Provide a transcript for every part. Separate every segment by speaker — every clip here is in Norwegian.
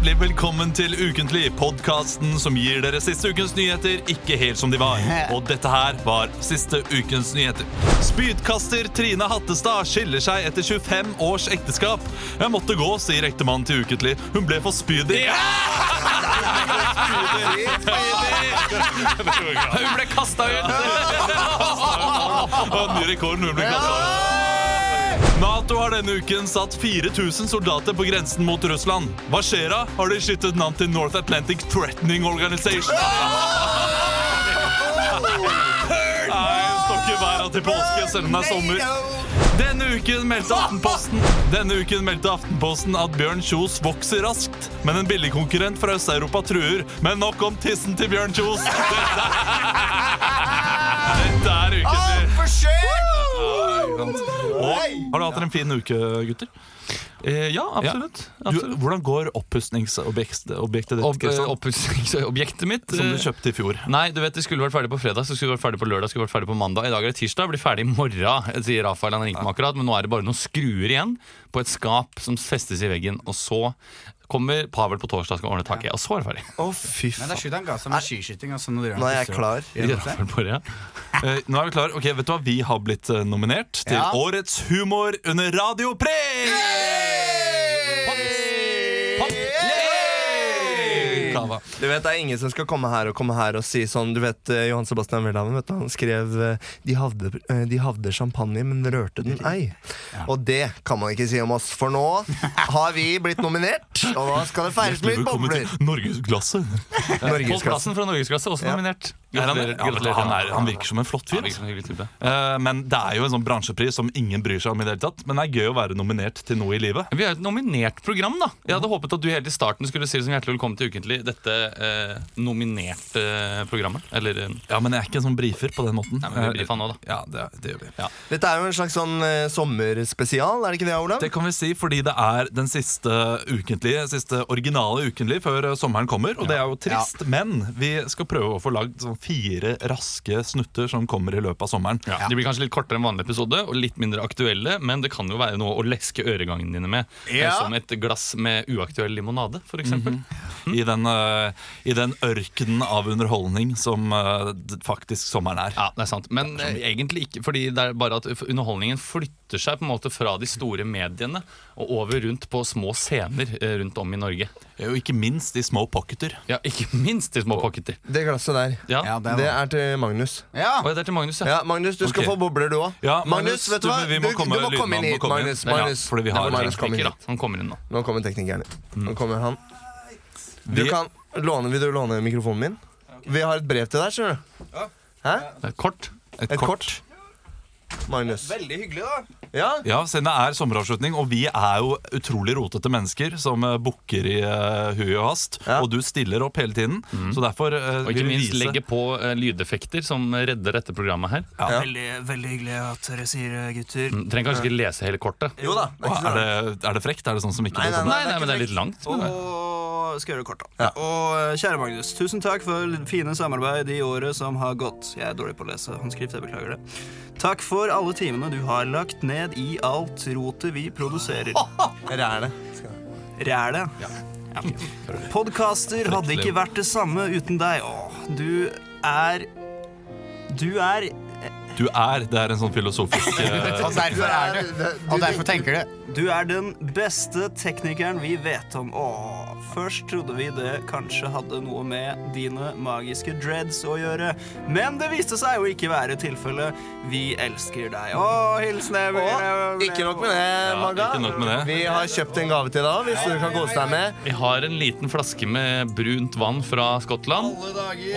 Speaker 1: Velkommen til Ukentlig, podkasten som gir dere siste ukens nyheter ikke helt som de var. Og dette her var siste ukens nyheter. Spydkaster Trine Hattestad skiller seg etter 25 års ekteskap. Jeg måtte gå, sier ektemannen til Ukentlig. Hun ble for spydig.
Speaker 2: Hun ble kasta ut!
Speaker 1: Og ny rekord når hun blir kastet. Nato har denne uken satt 4000 soldater på grensen mot Russland. Hva skjer da? Har de skiftet navn til North Atlantic Threatening Organization? Nei, stokker verre til påske, selv om det er sommer. Denne uken meldte Aftenposten Denne uken meldte Aftenposten at Bjørn Kjos vokser raskt, men en billig konkurrent fra Øst-Europa truer. Men nok om tissen til Bjørn Kjos. Dette er, Dette er
Speaker 3: Ah!
Speaker 1: ukentlig. Og, har du hatt en fin uke, gutter? ja, absolutt. hvordan går oppussingsobjektet ditt?
Speaker 2: eh, Opp,
Speaker 1: Kristian?
Speaker 2: Oppussingsobjektet mitt
Speaker 1: som du
Speaker 2: eh,
Speaker 1: kjøpte i fjor.
Speaker 2: Nei, du vet, det skulle vært ferdig på fredag, så skulle det vært ferdig på lørdag, skulle det vært ferdig på mandag. I dag er det tirsdag, blir ferdig i morgen, sier Rafael. Han ringte meg akkurat, men nå er det bare noen skruer igjen på et skap som festes i veggen. Og så kommer Pavel på torsdag og skal ordne taket, og så er det ferdig.
Speaker 1: Å, fy
Speaker 4: Men det er sjukt han ga seg med skiskyting. Altså, nå
Speaker 5: Nå er jeg klar.
Speaker 2: Rafael Borre, ja.
Speaker 1: Eh, nå er vi klar. Ok, vet du hva? Vi har blitt eh, nominert til
Speaker 4: Ja.
Speaker 1: Årets humor under Radioprix! Kava.
Speaker 5: Du vet, Det er ingen som skal komme her og komme her og si sånn Du vet, eh, Johan Sebastian Welhaven vet du, han skrev eh, de havde, eh, 'De havde champagne, men rørte den ei'. Og det kan man ikke si om oss, for nå har vi blitt nominert, og nå skal det feires med litt
Speaker 1: Velkommen
Speaker 5: bobler.
Speaker 1: til Norgesglasset.
Speaker 2: Pål
Speaker 5: Norgesklasse.
Speaker 2: Plassen fra Norgesklasse, også
Speaker 5: Ja.
Speaker 2: nominert.
Speaker 1: Er han, ja, vet du,
Speaker 2: Gratulerer.
Speaker 1: han, er, han virker som en flott fyr.
Speaker 2: Ja, virker som en hyggelig type.
Speaker 1: Eh, men det er jo en sånn bransjepris som ingen bryr seg om. i det hele tatt Men det er gøy å være nominert til noe i livet.
Speaker 2: Vi er jo et nominert program, da. Jeg hadde håpet at du helt i starten skulle si det som hjertelig velkommen til Ukentlig. Dette eh, nominerte programmet. Eller eh,
Speaker 1: Ja, Men jeg er ikke en sånn brifer på den måten. Eh,
Speaker 2: Nei, men vi blir fan nå, da.
Speaker 1: Ja, det, det gjør vi.
Speaker 2: Ja.
Speaker 5: Dette er jo en slags sånn eh, sommerspesial, er det ikke det, Olav?
Speaker 1: Det kan vi si fordi det er den siste ukentlige, siste originale ukentlige før eh, sommeren kommer. Og det er jo trist, men vi skal prøve å få lagd sånn fire raske snutter som kommer i løpet av sommeren.
Speaker 2: Ja. De blir kanskje litt kortere enn vanlig episode og litt mindre aktuelle, men det kan jo være noe å leske øregangene dine med. eh,
Speaker 4: Ja.
Speaker 2: Som et glass med uaktuell limonade, f.eks. eksempel
Speaker 1: I den, eh, I den ørkenen av underholdning som eh, d- faktisk sommeren er.
Speaker 2: Ja, det er sant. Men eh, egentlig ikke, fordi det er bare at f- underholdningen flytter seg på en måte fra de store mediene og over rundt på små scener eh, rundt om i Norge.
Speaker 1: Og ikke minst i små pocketer.
Speaker 2: Ja, ikke minst de små pocketer.
Speaker 5: Det glasset der,
Speaker 2: Ja.
Speaker 4: Ja, det
Speaker 5: det
Speaker 4: var
Speaker 5: er til Magnus.
Speaker 4: Ja,
Speaker 2: Og det er til Magnus, ja.
Speaker 5: Ja, Magnus, du skal
Speaker 1: Ok.
Speaker 5: få bobler, du òg.
Speaker 1: Ja, Magnus,
Speaker 5: vet du hva?
Speaker 1: du- vi må komme-
Speaker 5: du må komme
Speaker 1: lydmannen
Speaker 5: inn
Speaker 1: må
Speaker 5: hit,
Speaker 1: komme inn.
Speaker 5: Magnus.
Speaker 1: Ja,
Speaker 5: Magnus.
Speaker 1: fordi vi har
Speaker 2: Det er
Speaker 5: Magnus, kom inn
Speaker 2: tekniker,
Speaker 5: hit.
Speaker 2: da. Han kommer inn nå.
Speaker 5: Nå kommer teknikeren. Nå kommer han. Du
Speaker 1: Mm. Vi-
Speaker 5: kan låne, Vil du låne mikrofonen min? Vi har et brev til deg, skjønner du. Hæ?
Speaker 2: Det er kort.
Speaker 5: Et kort. Magnus.
Speaker 6: Veldig hyggelig, da.
Speaker 5: Ja?
Speaker 1: Ja, siden det er sommeravslutning, og vi er jo utrolig rotete mennesker som eh, booker i uh, hui og hast,
Speaker 5: Ja.
Speaker 1: og du stiller opp hele tiden. Så derfor eh,
Speaker 2: Mm. Og ikke
Speaker 1: vil vi
Speaker 2: minst
Speaker 1: vise-
Speaker 2: legge på eh, lydeffekter som redder dette programmet her.
Speaker 1: Ja.
Speaker 6: Veldig, veldig hyggelig at dere sier det, gutter.
Speaker 2: Mm, Trenger kanskje ikke lese hele kortet.
Speaker 5: Jo da. det er
Speaker 1: Åh,
Speaker 5: ikke så
Speaker 1: er,
Speaker 5: langt.
Speaker 1: det, er det frekt? Er det sånn som ikke
Speaker 5: Nei, nei,
Speaker 2: Nei, nei, men det Sånn er litt langt.
Speaker 6: Og
Speaker 2: Men,
Speaker 6: skal gjøre det kort, da. Og eh, kjære Magnus, tusen takk for fine samarbeid i året som har gått. Jeg er dårlig på å lese håndskrift, jeg beklager det. Takk for alle timene du har lagt ned i alt rotet vi produserer.
Speaker 5: Ræle.
Speaker 6: Ræle. Ja. Podkaster hadde ikke vært det samme uten deg. Åh, du er Du er
Speaker 1: Du er, det er en sånn filosofisk eh,
Speaker 4: Og derfor er du Og derfor tenker du.
Speaker 6: Du er den beste teknikeren vi vet om. Åh, først trodde vi det kanskje hadde noe med dine magiske dreads å gjøre, men det viste seg jo ikke være tilfellet. Vi elsker deg. Åh, hilsen Emil.
Speaker 5: Og ikke nok med det, Magga.
Speaker 1: ikke nok med det.
Speaker 5: Vi har kjøpt en gave til deg òg, hvis du kan kose deg med.
Speaker 2: Vi har en liten flaske med brunt vann fra Skottland.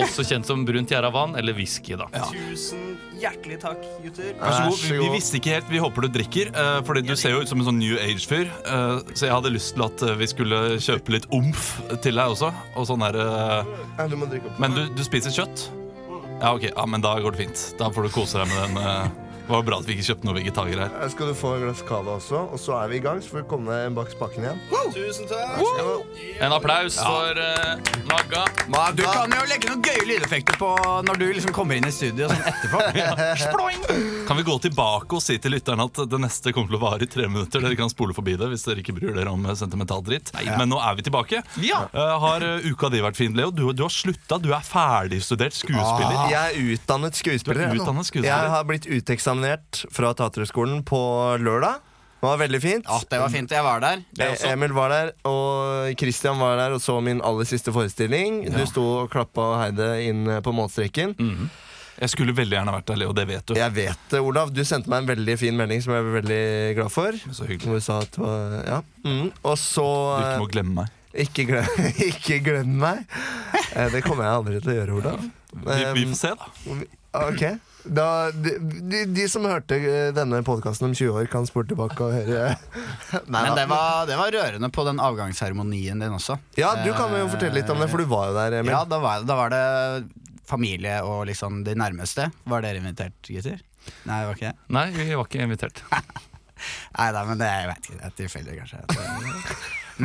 Speaker 2: Også kjent som brunt gjæravann, eller whisky, da.
Speaker 6: Tusen hjertelig takk, gutter.
Speaker 1: Vær så god.
Speaker 5: Vær så
Speaker 1: Vi, vi
Speaker 5: god.
Speaker 1: visste ikke helt. Vi håper du drikker. eh, fordi du ser jo ut som en sånn New Age-fyr. eh, så jeg hadde lyst til at eh, vi skulle kjøpe litt omf til deg også. Og sånn der, eh,
Speaker 5: Ja, du må drikke opp.
Speaker 1: men du, du spiser kjøtt? Ja, ok. Ja, men da går det fint. Da får du kose deg med den. eh. Det var bra at vi ikke kjøpte noe vegetar her.
Speaker 3: Her skal du få et glass cava også, og så er vi i gang. Så får vi komme bak spaken igjen.
Speaker 7: Tusen takk.
Speaker 2: En applaus for eh, Magga.
Speaker 4: Du kan jo legge noen gøye lydeffekter på når du liksom kommer inn i studio sånn etterpå.
Speaker 1: Kan vi gå tilbake og si til lytteren at det neste kommer til å vare i tre minutter? Dere kan spole forbi det hvis dere ikke bryr dere om eh, sentimental dritt. Men nå er vi tilbake.
Speaker 2: Ja.
Speaker 1: Eh, har eh, uka di vært fin, Leo? Du, du har slutta. Du er ferdigstudert skuespiller.
Speaker 3: Jeg er utdannet
Speaker 1: Du
Speaker 3: skuespiller.
Speaker 1: er
Speaker 3: jeg nå.
Speaker 1: Ah. utdannet skuespiller.
Speaker 3: Jeg har blitt uteksaminert fra Teaterhøgskolen på lørdag. Det var veldig fint.
Speaker 4: Ja, det var fint. Jeg var der.
Speaker 3: Eh, Emil var der, og Christian var der og så min aller siste forestilling. Du sto og klappa og heide inn eh, på målstreken.
Speaker 1: Mhm. Jeg skulle veldig gjerne vært der, Leo. Det vet du.
Speaker 3: Jeg vet det, Olav. Du sendte meg en veldig fin melding som jeg er veldig glad for.
Speaker 1: Så hyggelig.
Speaker 3: Hvor du sa at det var, ja. mm. Og så
Speaker 1: Du
Speaker 3: eh,
Speaker 1: ikke må glemme meg.
Speaker 3: ikke, glem, ikke glem meg. Eh, Det kommer jeg aldri til å gjøre, Olav.
Speaker 1: Vi, vi
Speaker 3: Eh,
Speaker 1: får se, da.
Speaker 3: Ok da, de, de, de som hørte eh, denne podkasten om 20 år, kan spole tilbake og høre. Nei,
Speaker 4: Men
Speaker 3: da.
Speaker 4: det var, det var rørende på den avgangsseremonien din også. Eh,
Speaker 3: Ja, Du kan jo fortelle litt om det, for du var jo der, Emil.
Speaker 4: Ja, da var, da var det familie og liksom de nærmeste. Var dere invitert, gutter? Nei, det var ikke det.
Speaker 2: Nei, vi var ikke invitert.
Speaker 4: Nei da, men det jeg vet ikke. Det er tilfeldig, kanskje.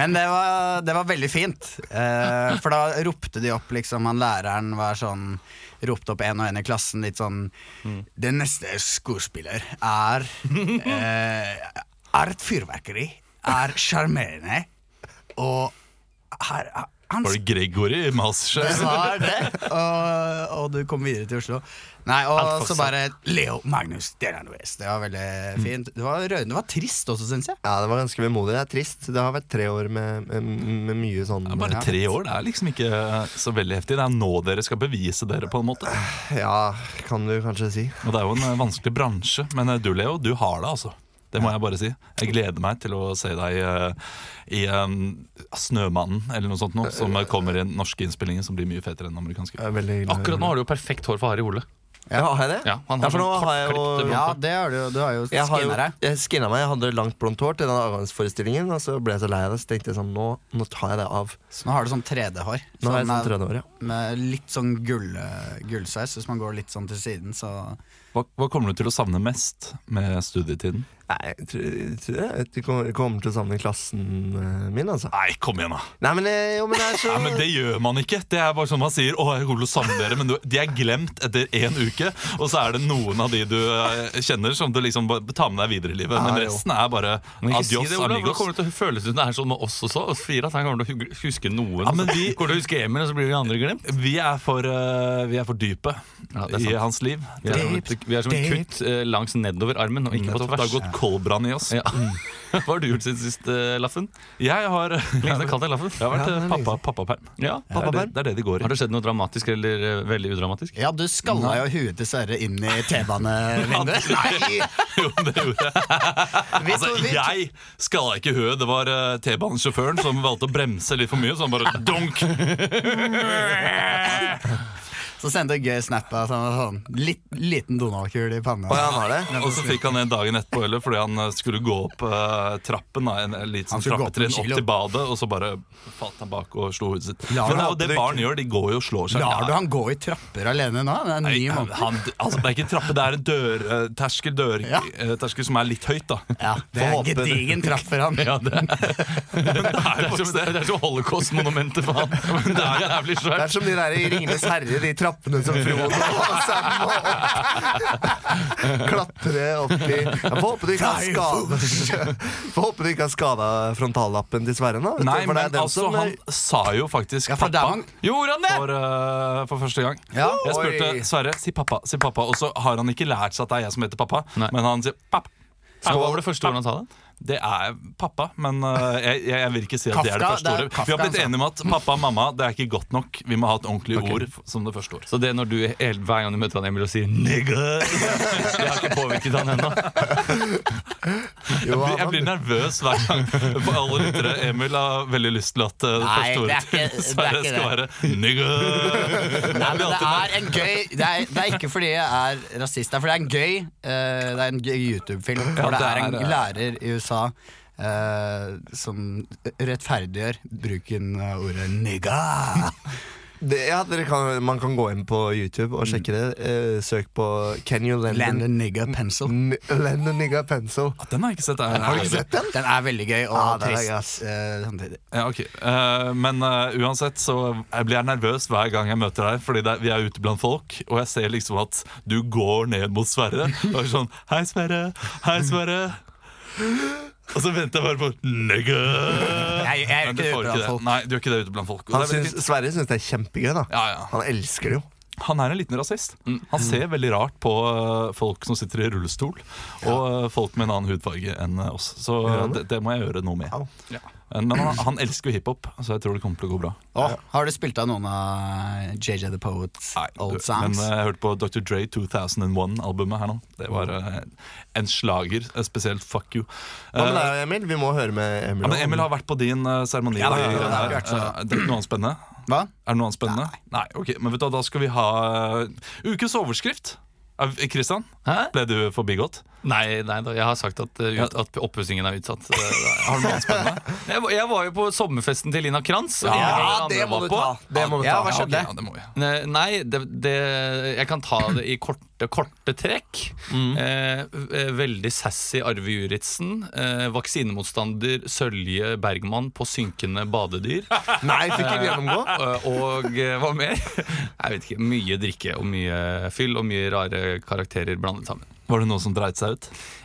Speaker 4: Men det var, det var veldig fint. Eh, for da ropte de opp, liksom. Han læreren var sånn Ropte opp en og en i klassen litt sånn Den neste skuespiller er eh, Er et fyrverkeri. Er sjarmerende. Og her, han
Speaker 1: Var det Gregory
Speaker 4: det
Speaker 1: Masterchef?
Speaker 4: var det. Og, og du kom videre til Oslo. Nei, og så bare Leo Magnus, dere er noe best. Det var veldig fint. Det var rørende. Det var trist også, syns jeg.
Speaker 3: Ja, Det var ganske vemodig. Det er trist. Det har vært tre år med, med, med mye sånn
Speaker 1: Bare tre år, det er liksom ikke så veldig heftig. Det er nå dere skal bevise dere, på en måte.
Speaker 3: Ja, kan du kanskje si.
Speaker 1: Og det er jo en eh, vanskelig bransje. Men eh, du, Leo, du har det, altså. Det må jeg bare si. Jeg gleder meg til å se deg eh, i eh, Snømannen eller noe sånt nå, som eh, kommer i den norske innspillingen, som blir mye fetere enn den
Speaker 3: Jeg
Speaker 1: amerikanske.
Speaker 3: er veldig glad i-
Speaker 2: Akkurat nå har du jo perfekt hår for Harry Ole.
Speaker 3: Ja, har jeg det?
Speaker 2: Ja, han har
Speaker 3: for nå
Speaker 2: sånn
Speaker 3: har jeg jo
Speaker 2: kortklipt blond
Speaker 4: Ja,
Speaker 2: hår.
Speaker 4: det har du, jo- du har jo
Speaker 3: jeg har jo,
Speaker 4: skinna deg.
Speaker 3: jeg skinna meg. Jeg hadde langt blondt hår til den avgangsforestillingen, og så ble jeg så lei av det, så tenkte jeg sånn Nå, nå tar jeg det av.
Speaker 4: Så nå har du sånn 3D-hår.
Speaker 3: Nå har jeg
Speaker 4: Sånn,
Speaker 3: sånn tredje år, ja.
Speaker 4: Med litt sånn gull, gullsveis. Hvis man går litt sånn til siden, så
Speaker 1: Hva, hva kommer du til å savne mest med studietiden?
Speaker 3: Nei, jeg tror, jeg tror jeg vet, jeg kommer, kommer til å savne klassen eh, min, altså.
Speaker 1: Nei, kom igjen, da!
Speaker 3: Nei, men, eh, jo, men det er så
Speaker 1: Nei, men Det gjør man ikke. Det er bare som man sier. Å, jeg kommer til å savne dere Men du, de er glemt etter én uke, og så er det noen av de du eh, kjenner, som du liksom bare tar med deg videre i livet. Men
Speaker 3: Ja, jo.
Speaker 1: resten er bare
Speaker 2: Men ikke
Speaker 1: adios,
Speaker 2: si det, Olav. for Det
Speaker 1: amigos.
Speaker 2: kommer til å føles ut det er sånn med oss også. Oss fire, at han kommer til å hu- huske noen.
Speaker 1: Ja, men
Speaker 2: og så
Speaker 1: vi-
Speaker 2: kommer til å huske Emil, og så blir de andre glemt.
Speaker 1: Vi er for, eh, vi er for dype
Speaker 2: Ja,
Speaker 1: i
Speaker 2: det er sant.
Speaker 1: hans liv.
Speaker 2: Vi er som et, vi er som et kutt eh, langs nedover armen, og ikke på
Speaker 1: Nettopp, det har
Speaker 2: tvers.
Speaker 1: gått koldbrann i oss.
Speaker 2: Ja. Hva har du gjort siden sist, eh, Laffen?
Speaker 1: Jeg har
Speaker 2: Lenge siden jeg kalte deg Laffen.
Speaker 1: Jeg har vært eh,
Speaker 3: Ja, det er lenge
Speaker 1: pappa, pappaperm.
Speaker 2: Ja.
Speaker 1: Det er det,
Speaker 3: Pappaperm?
Speaker 1: det er det de går
Speaker 2: Har
Speaker 1: i.
Speaker 2: det skjedd noe dramatisk eller eh, veldig udramatisk?
Speaker 4: Ja, du skalla jo huet til Sverre inn i T-banevinduet. Nei!
Speaker 1: Jo, det gjorde jeg.
Speaker 4: Vi
Speaker 1: Altså,
Speaker 4: to, vi to,
Speaker 1: jeg skalla ikke høet. Det var eh, T-banesjåføren som valgte å bremse litt for mye, så han bare dunk!
Speaker 4: så sendte jeg gøy snap av sånn, sånn litt, liten Donald-kul i panna.
Speaker 3: Å, ja, han har det?
Speaker 1: Og så fikk han en dagen etterpå eller, fordi han eh, skulle gå opp eh, trappen, da, en, en liten
Speaker 4: Han skulle gå opp en
Speaker 1: trappetrinn opp
Speaker 4: kilo.
Speaker 1: til badet, og så bare falt han bak og slo hodet sitt.
Speaker 4: Lar
Speaker 1: Men det er
Speaker 4: han
Speaker 1: jo det barn gjør. De går jo og slår seg.
Speaker 4: Lar du han gå i trapper alene nå? Det er
Speaker 1: Nei,
Speaker 4: ni måneder.
Speaker 1: han, altså, det er ikke en trappe, det er en dør, eh, terskel, dør,
Speaker 4: Ja.
Speaker 1: eh, terskel som er litt høyt, da.
Speaker 4: Ja, det
Speaker 1: Får
Speaker 4: er
Speaker 1: håpe det.
Speaker 4: gedigen traff for han.
Speaker 2: Ja, det,
Speaker 1: Det er
Speaker 2: er
Speaker 1: jo
Speaker 2: som, det er som holocaust-monumentet, faen. Men det er jævlig
Speaker 3: Det
Speaker 2: svært.
Speaker 3: er som de der i Ringenes herre, de trappene som Frodo og Sam må opp. Klatre opp i Jeg får håpe du ikke har skada Får håpe du ikke har skada frontallappen til Sverre nå. vet du,
Speaker 1: Nei,
Speaker 3: for
Speaker 1: men
Speaker 3: det er den
Speaker 1: altså,
Speaker 3: som,
Speaker 1: han sa jo faktisk
Speaker 4: Ja, for
Speaker 1: pappa
Speaker 4: Damang.
Speaker 2: Gjorde han det?!
Speaker 1: for, eh, for første gang.
Speaker 4: Ja.
Speaker 1: Jeg spurte
Speaker 3: Oi.
Speaker 1: Sverre si pappa, si pappa, og så har han ikke lært seg at det er jeg som heter pappa.
Speaker 2: Nei.
Speaker 1: Men han sier pappa.
Speaker 2: Hva var det første ordet han sa? da?
Speaker 1: Det er pappa, men eh, jeg, jeg, jeg vil ikke si at det er det
Speaker 4: Kafka,
Speaker 1: første
Speaker 4: det er
Speaker 1: ordet. Vi har
Speaker 4: Kafka,
Speaker 1: blitt
Speaker 4: altså.
Speaker 1: enige om at pappa og mamma det er ikke godt nok. Vi må ha et ordentlig ord f- som det første ordet.
Speaker 2: Så det er når du hel- hver gang du møter han Emil og sier 'nigger' Det har ikke påvirket han ennå.
Speaker 3: jo,
Speaker 1: Jeg, jeg blir nervøs hver gang. For alle lyttere, Emil har veldig lyst til at eh, det
Speaker 4: Nei,
Speaker 1: første
Speaker 4: det
Speaker 1: ordet
Speaker 4: er ikke-
Speaker 1: til
Speaker 4: det er
Speaker 1: Sverre
Speaker 4: ikke
Speaker 1: skal være 'nigger'.
Speaker 4: Nei, men det er en gøy Det er, det er ikke fordi jeg er rasist, det er fordi det er en gøy eh, Det er en gøy YouTube-film hvor det
Speaker 1: det
Speaker 4: er en
Speaker 1: er det.
Speaker 4: lærer i USA eh, som rettferdiggjør bruken av ordet 'nigga'.
Speaker 5: Det, ja, dere kan, man kan gå inn på YouTube og sjekke det. Eh, søk på Can you lend,
Speaker 4: Land a nigga a pencil.
Speaker 5: N- lend a nigga a pencil?
Speaker 1: Ah, Den har jeg ikke sett. Jeg. Har du ikke sett?
Speaker 4: Den er veldig gøy og
Speaker 5: Ja, den er gøy,
Speaker 4: trist eh, samtidig.
Speaker 1: Ja, ok. Eh, men eh, uansett så jeg blir jeg nervøs hver gang jeg møter deg, fordi det, er- vi er ute blant folk, og jeg ser liksom at du går ned mot Sverre. Og er sånn Hei, Sverre. Hei, Sverre. Og så venter jeg bare på Nigga!
Speaker 4: Jeg, jeg er
Speaker 1: Men
Speaker 4: jo
Speaker 1: du
Speaker 4: ikke det
Speaker 1: får
Speaker 4: ute av folk.
Speaker 1: Nei, du gjør ikke det ute blant folk. og
Speaker 5: Han
Speaker 1: det er veldig
Speaker 5: syns,
Speaker 1: fint.
Speaker 5: Sverre syns det er kjempegøy, da.
Speaker 1: ja, ja.
Speaker 5: Han elsker det jo.
Speaker 1: Han er en liten rasist. Han ser veldig rart på øh, folk som sitter i rullestol, og øh, folk med en annen hudfarge enn øh, oss. Så øh, det, det må jeg gjøre noe med. Eh,
Speaker 5: Au.
Speaker 1: Men han, han elsker jo hiphop, så jeg tror det kommer til å gå bra.
Speaker 4: Åh, har du spilt av noen av JJ the Poets old
Speaker 1: Men
Speaker 4: songs?
Speaker 1: øh, jeg hørte på Dr. Dre 2001-albumet her nå. Det var øh, en slager, eh, spesielt Fuck You.
Speaker 5: Hva med
Speaker 1: Eh,
Speaker 5: deg, Emil? Vi må høre med Emil.
Speaker 1: ja, men Emil har vært på din eh, seremoni.
Speaker 4: Ja, da,
Speaker 1: og de
Speaker 4: ja, da,
Speaker 1: greiene
Speaker 4: det har
Speaker 1: her.
Speaker 4: vært
Speaker 1: Eh, det er ikke noe annet spennende?
Speaker 4: Hva?
Speaker 1: Er det noe annet spennende? Nei. ok, Men vet du, hva, da skal vi ha eh, ukens overskrift. Eh, Kristian,
Speaker 2: Hæ?
Speaker 1: ble du forbigått?
Speaker 2: Nei, nei da, jeg har sagt at, uh, ut, at oppussingen er utsatt. Det- det- Har du noe annet spennende? Jeg, var- jeg var jo på sommerfesten til Lina Kranz. og de andre var på.
Speaker 5: Det må du ta.
Speaker 4: Ja, hva skjedde?
Speaker 1: ok, ja, det må vi.
Speaker 2: Ne- Nei, det, det, jeg kan ta det i korte, korte trekk. Eh, eh, veldig sassy Arve Juritzen. Eh, vaksinemotstander Sølje Bergman på synkende badedyr.
Speaker 5: Nei, fikk ikke gjennomgå.
Speaker 2: Eh, og eh, hva mer? Jeg vet ikke. Mye drikke og mye fyll og mye rare karakterer blandet sammen.
Speaker 1: Var det noen som dreit seg ut?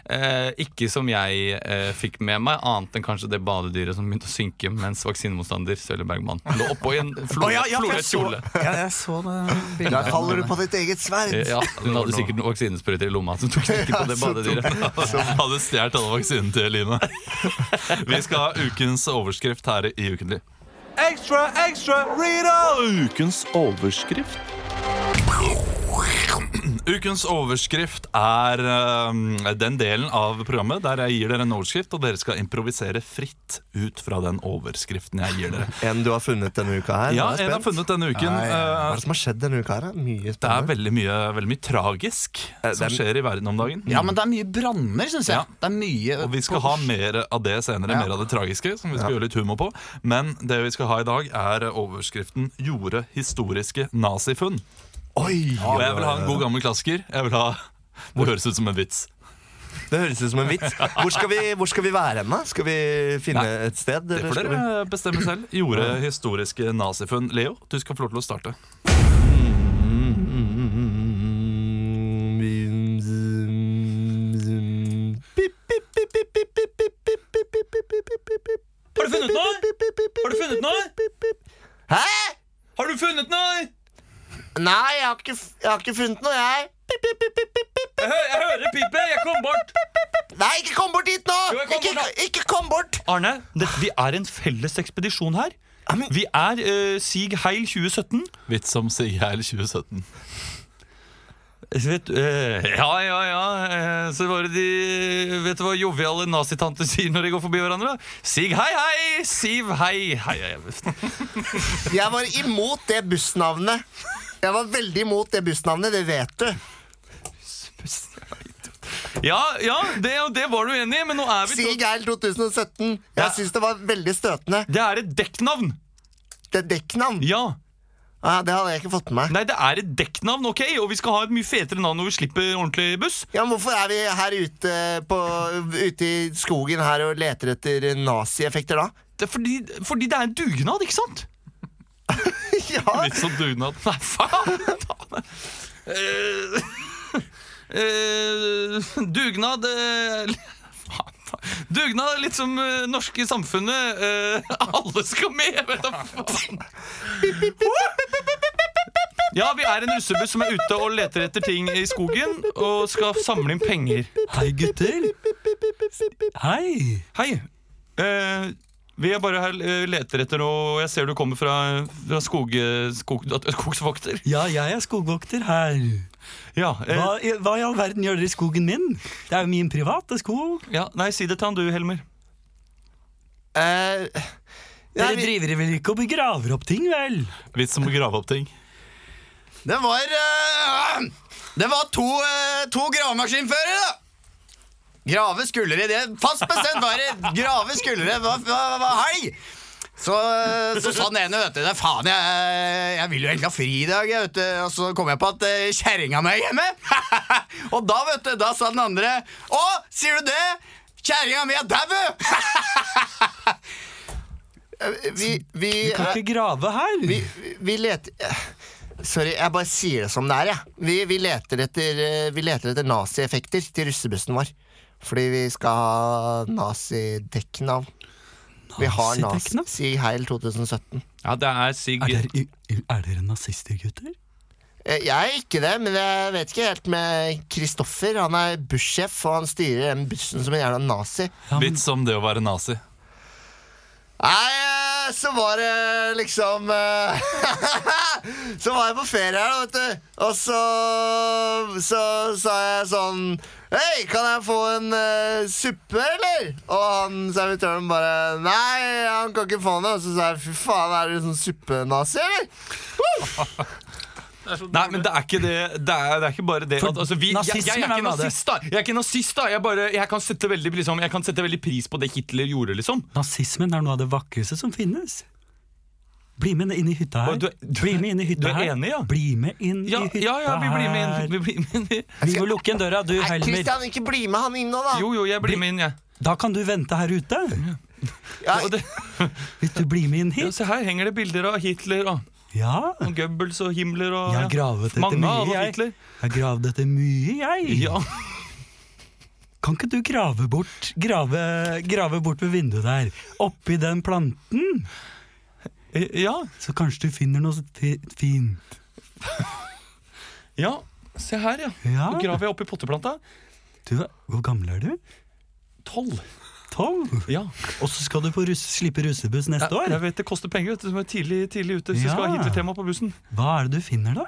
Speaker 2: Eh, ikke som jeg eh, fikk med meg, annet enn kanskje det badedyret som begynte å synke mens vaksinemotstander Sølje Bergman lå oppå i en flore, floret kjole.
Speaker 4: Ja, jeg så det
Speaker 5: Der faller du på ditt eget sverd.
Speaker 2: Eh, Ja, hun hadde sikkert noen vaksinesprøyter i lomma som tok knekken på det badedyret.
Speaker 1: Hadde stjålet alle vaksinene til Eline. Vi skal ha ukens overskrift her i Ukentlig. Ekstra, ekstra, Rita! Ukens overskrift. Ukens overskrift er eh, den delen av programmet der jeg gir dere en overskrift, og dere skal improvisere fritt ut fra den overskriften jeg gir dere.
Speaker 5: En du har funnet denne uka her.
Speaker 1: Ja,
Speaker 5: Nå er jeg
Speaker 1: en har
Speaker 5: spent.
Speaker 1: funnet denne uken.
Speaker 5: Hva
Speaker 1: eh,
Speaker 5: er det som har skjedd denne uka her? da? Mye
Speaker 1: Det er
Speaker 5: spennende.
Speaker 1: veldig mye, veldig mye tragisk som
Speaker 5: det er-
Speaker 1: skjer i verden om dagen.
Speaker 4: Ja, men det er mye branner, syns jeg.
Speaker 1: Ja.
Speaker 4: Det er mye
Speaker 1: Og vi skal ha mer av det senere,
Speaker 4: Ja.
Speaker 1: mer av det tragiske, som vi skal gjøre litt humor på. Men det vi skal ha i dag, er overskriften 'Gjorde historiske nazifunn'.
Speaker 5: Oi!
Speaker 1: Og jeg vil ha en god gammel klassiker. Jeg vil ha Det høres ut som en vits.
Speaker 5: Det høres ut som en vits. Hvor skal vi, hvor skal vi være hen, da? Skal vi finne
Speaker 1: Nei,
Speaker 5: et sted?
Speaker 1: Det
Speaker 5: eller
Speaker 1: får
Speaker 5: skal vi-
Speaker 1: dere bestemme selv. 'Gjorde historiske nazifunn'. Leo, du skal få lov til å starte.
Speaker 2: Har du funnet noe? Har du funnet noe?
Speaker 5: Hæ?
Speaker 2: Har du funnet noe?
Speaker 5: Nei, jeg har ikke, jeg har ikke funnet noe, jeg.
Speaker 2: Jeg, hø jeg hører pipet, jeg kom bort.
Speaker 5: Nei, ikke kom bort hit nå!
Speaker 2: Jo, jeg kom
Speaker 5: ikke,
Speaker 2: bort
Speaker 5: ikke kom bort!
Speaker 2: Arne, det, vi er en felles ekspedisjon her. Vi er eh, Sig Heil 2017.
Speaker 1: Vits som Sig Heil 2017.
Speaker 2: Så Vet, eh, ja, ja, ja. eh, så var det de Vet du hva joviale nazitanter sier når de går forbi hverandre? Sig hei, hei! Siv hei, hei. hei.
Speaker 3: Jeg var imot det bussnavnet. Jeg var veldig imot det bussnavnet, det vet du.
Speaker 2: Ja, ja, det, det var du enig i, men nå er vi
Speaker 3: Sig Geil 2017.
Speaker 2: Ja.
Speaker 3: Jeg syns det var veldig støtende.
Speaker 2: Det er et dekknavn!
Speaker 3: Det er dekknavn.
Speaker 2: Ja.
Speaker 3: Ah, det hadde jeg ikke fått med meg.
Speaker 2: Nei, det er et dekknavn, ok? Og vi skal ha et mye fetere navn når vi slipper ordentlig buss.
Speaker 3: Ja, men Hvorfor er vi her ute, på, ute i skogen her og leter etter nazieffekter da?
Speaker 2: Det er fordi, fordi det er en dugnad, ikke sant?
Speaker 3: Ja,
Speaker 1: Vits som dugnad.
Speaker 2: Nei, faen! ta det. Eh, eh, dugnad eh, faen, faen. Dugnad er litt som eh, norske samfunnet. eh, alle skal med, vet du faen! Ja, vi er en russebuss som er ute og leter etter ting i skogen og skal samle inn penger.
Speaker 1: Hei, gutter. Hei.
Speaker 2: Hei. Eh, vi er bare her eh, leter etter noe Jeg ser du kommer fra, fra skog, eh, skog, skogsvokter.
Speaker 8: Ja, jeg er skogvokter her.
Speaker 2: Ja, eh,
Speaker 8: Hva, i- hva i all verden gjør dere i skogen min? Det er jo min private skog.
Speaker 2: ja, Nei, si det til han du, Helmer.
Speaker 3: eh,
Speaker 8: Dere
Speaker 3: Nei, vi-
Speaker 8: driver vel ikke og begraver opp ting, vel?
Speaker 1: Vits som å grave opp ting.
Speaker 4: Det var eh, Det var to, eh, to gravemaskinførere, da! Grave skuldre, det fast bestemt var det. Grave skuldre, hva, hva, hva helg? Så, eh, så sa den ene, vet du, det, faen, jeg, jeg vil jo egentlig ha fri i dag, jeg, vet du. Og så kom jeg på at eh, kjerringa mi er hjemme. og da, vet du, da sa den andre, å, sier du det? Kjerringa mi er dau!
Speaker 3: eh, Vi, vi, eh,
Speaker 8: Kan ikke grave her.
Speaker 3: vi, vi leter Sorry, jeg bare sier det som det er, jeg. Vi, vi leter etter, eh, vi leter etter nazieffekter til russebussen vår. Fordi vi skal ha nazidekknavn. Vi har nazi
Speaker 8: Nazidekknavn?
Speaker 3: Si heil 2017.
Speaker 2: Ja, det er Sig
Speaker 8: Er dere, er dere nazister, gutter?
Speaker 3: Eh, Jeg er ikke det, men jeg vet ikke helt med Kristoffer. Han er bussjef, og han styrer den bussen som en jævla nazi.
Speaker 8: Ja, men
Speaker 2: Litt som det å være nazi.
Speaker 3: Nei, eh, så var det liksom eh, Så var jeg på ferie her, da, vet du. Og så så sa jeg sånn Hei, kan jeg få en eh, suppe, eller? Og han servitøren bare Nei, han kan ikke få noe. Og så sa jeg fy faen, er du sånn suppenazi, eller?
Speaker 2: Nei, men det er ikke det Det er, det er ikke bare det at altså, vi, jeg, jeg, er
Speaker 8: nazismen er
Speaker 2: ikke
Speaker 8: noe av det.
Speaker 2: nazist, da. Jeg er ikke nazist, da. Jeg, bare, jeg, kan sette veldig, liksom, jeg kan sette veldig pris på det Hitler gjorde, liksom.
Speaker 8: Nazismen er noe av det vakreste som finnes. Bli med inn i hytta her.
Speaker 2: Hva, du er- du
Speaker 8: Bli med inn i
Speaker 2: du
Speaker 8: hytta
Speaker 2: er
Speaker 8: her.
Speaker 2: enig, ja?
Speaker 8: Bli med inn
Speaker 2: Ja,
Speaker 8: i hytta
Speaker 2: ja, ja vi blir med inn.
Speaker 8: her.
Speaker 2: Vi blir med inn. i-
Speaker 8: Vi må lukke igjen døra, du
Speaker 3: Nei,
Speaker 8: Helmer.
Speaker 3: Christian, ikke bli med han inn nå, da.
Speaker 2: Jo, jo, jeg blir med inn, jeg.
Speaker 8: Da kan du vente her ute.
Speaker 3: Ja,
Speaker 2: Og det-
Speaker 8: Hvis du blir med inn
Speaker 2: Ja,
Speaker 8: hit.
Speaker 2: se her henger det bilder av Hitler og,
Speaker 8: Ja.
Speaker 2: og Goebbels og Himmler og
Speaker 8: Jeg har gravet etter
Speaker 2: Mange av
Speaker 8: mye, jeg.
Speaker 2: Hitler.
Speaker 8: Jeg har gravd etter mye, jeg.
Speaker 2: Ja.
Speaker 8: Kan ikke du grave bort grave, grave bort ved vinduet der? Oppi den planten?
Speaker 2: ja.
Speaker 8: Så kanskje du finner noe fi- fint.
Speaker 2: Ja, se her, ja.
Speaker 8: Ja.
Speaker 2: Nå graver jeg oppi potteplanta.
Speaker 8: Du, hvor gammel er du?
Speaker 2: Tolv.
Speaker 8: Tolv?
Speaker 2: Ja.
Speaker 8: Og så skal du på russ, slippe russebuss neste
Speaker 2: Jeg, jeg
Speaker 8: år?
Speaker 2: vet det koster penger, vet du, som er tidlig, tidlig ute. Så
Speaker 8: Ja.
Speaker 2: jeg skal ha Hitler-tema på bussen.
Speaker 8: Hva er det du finner, da?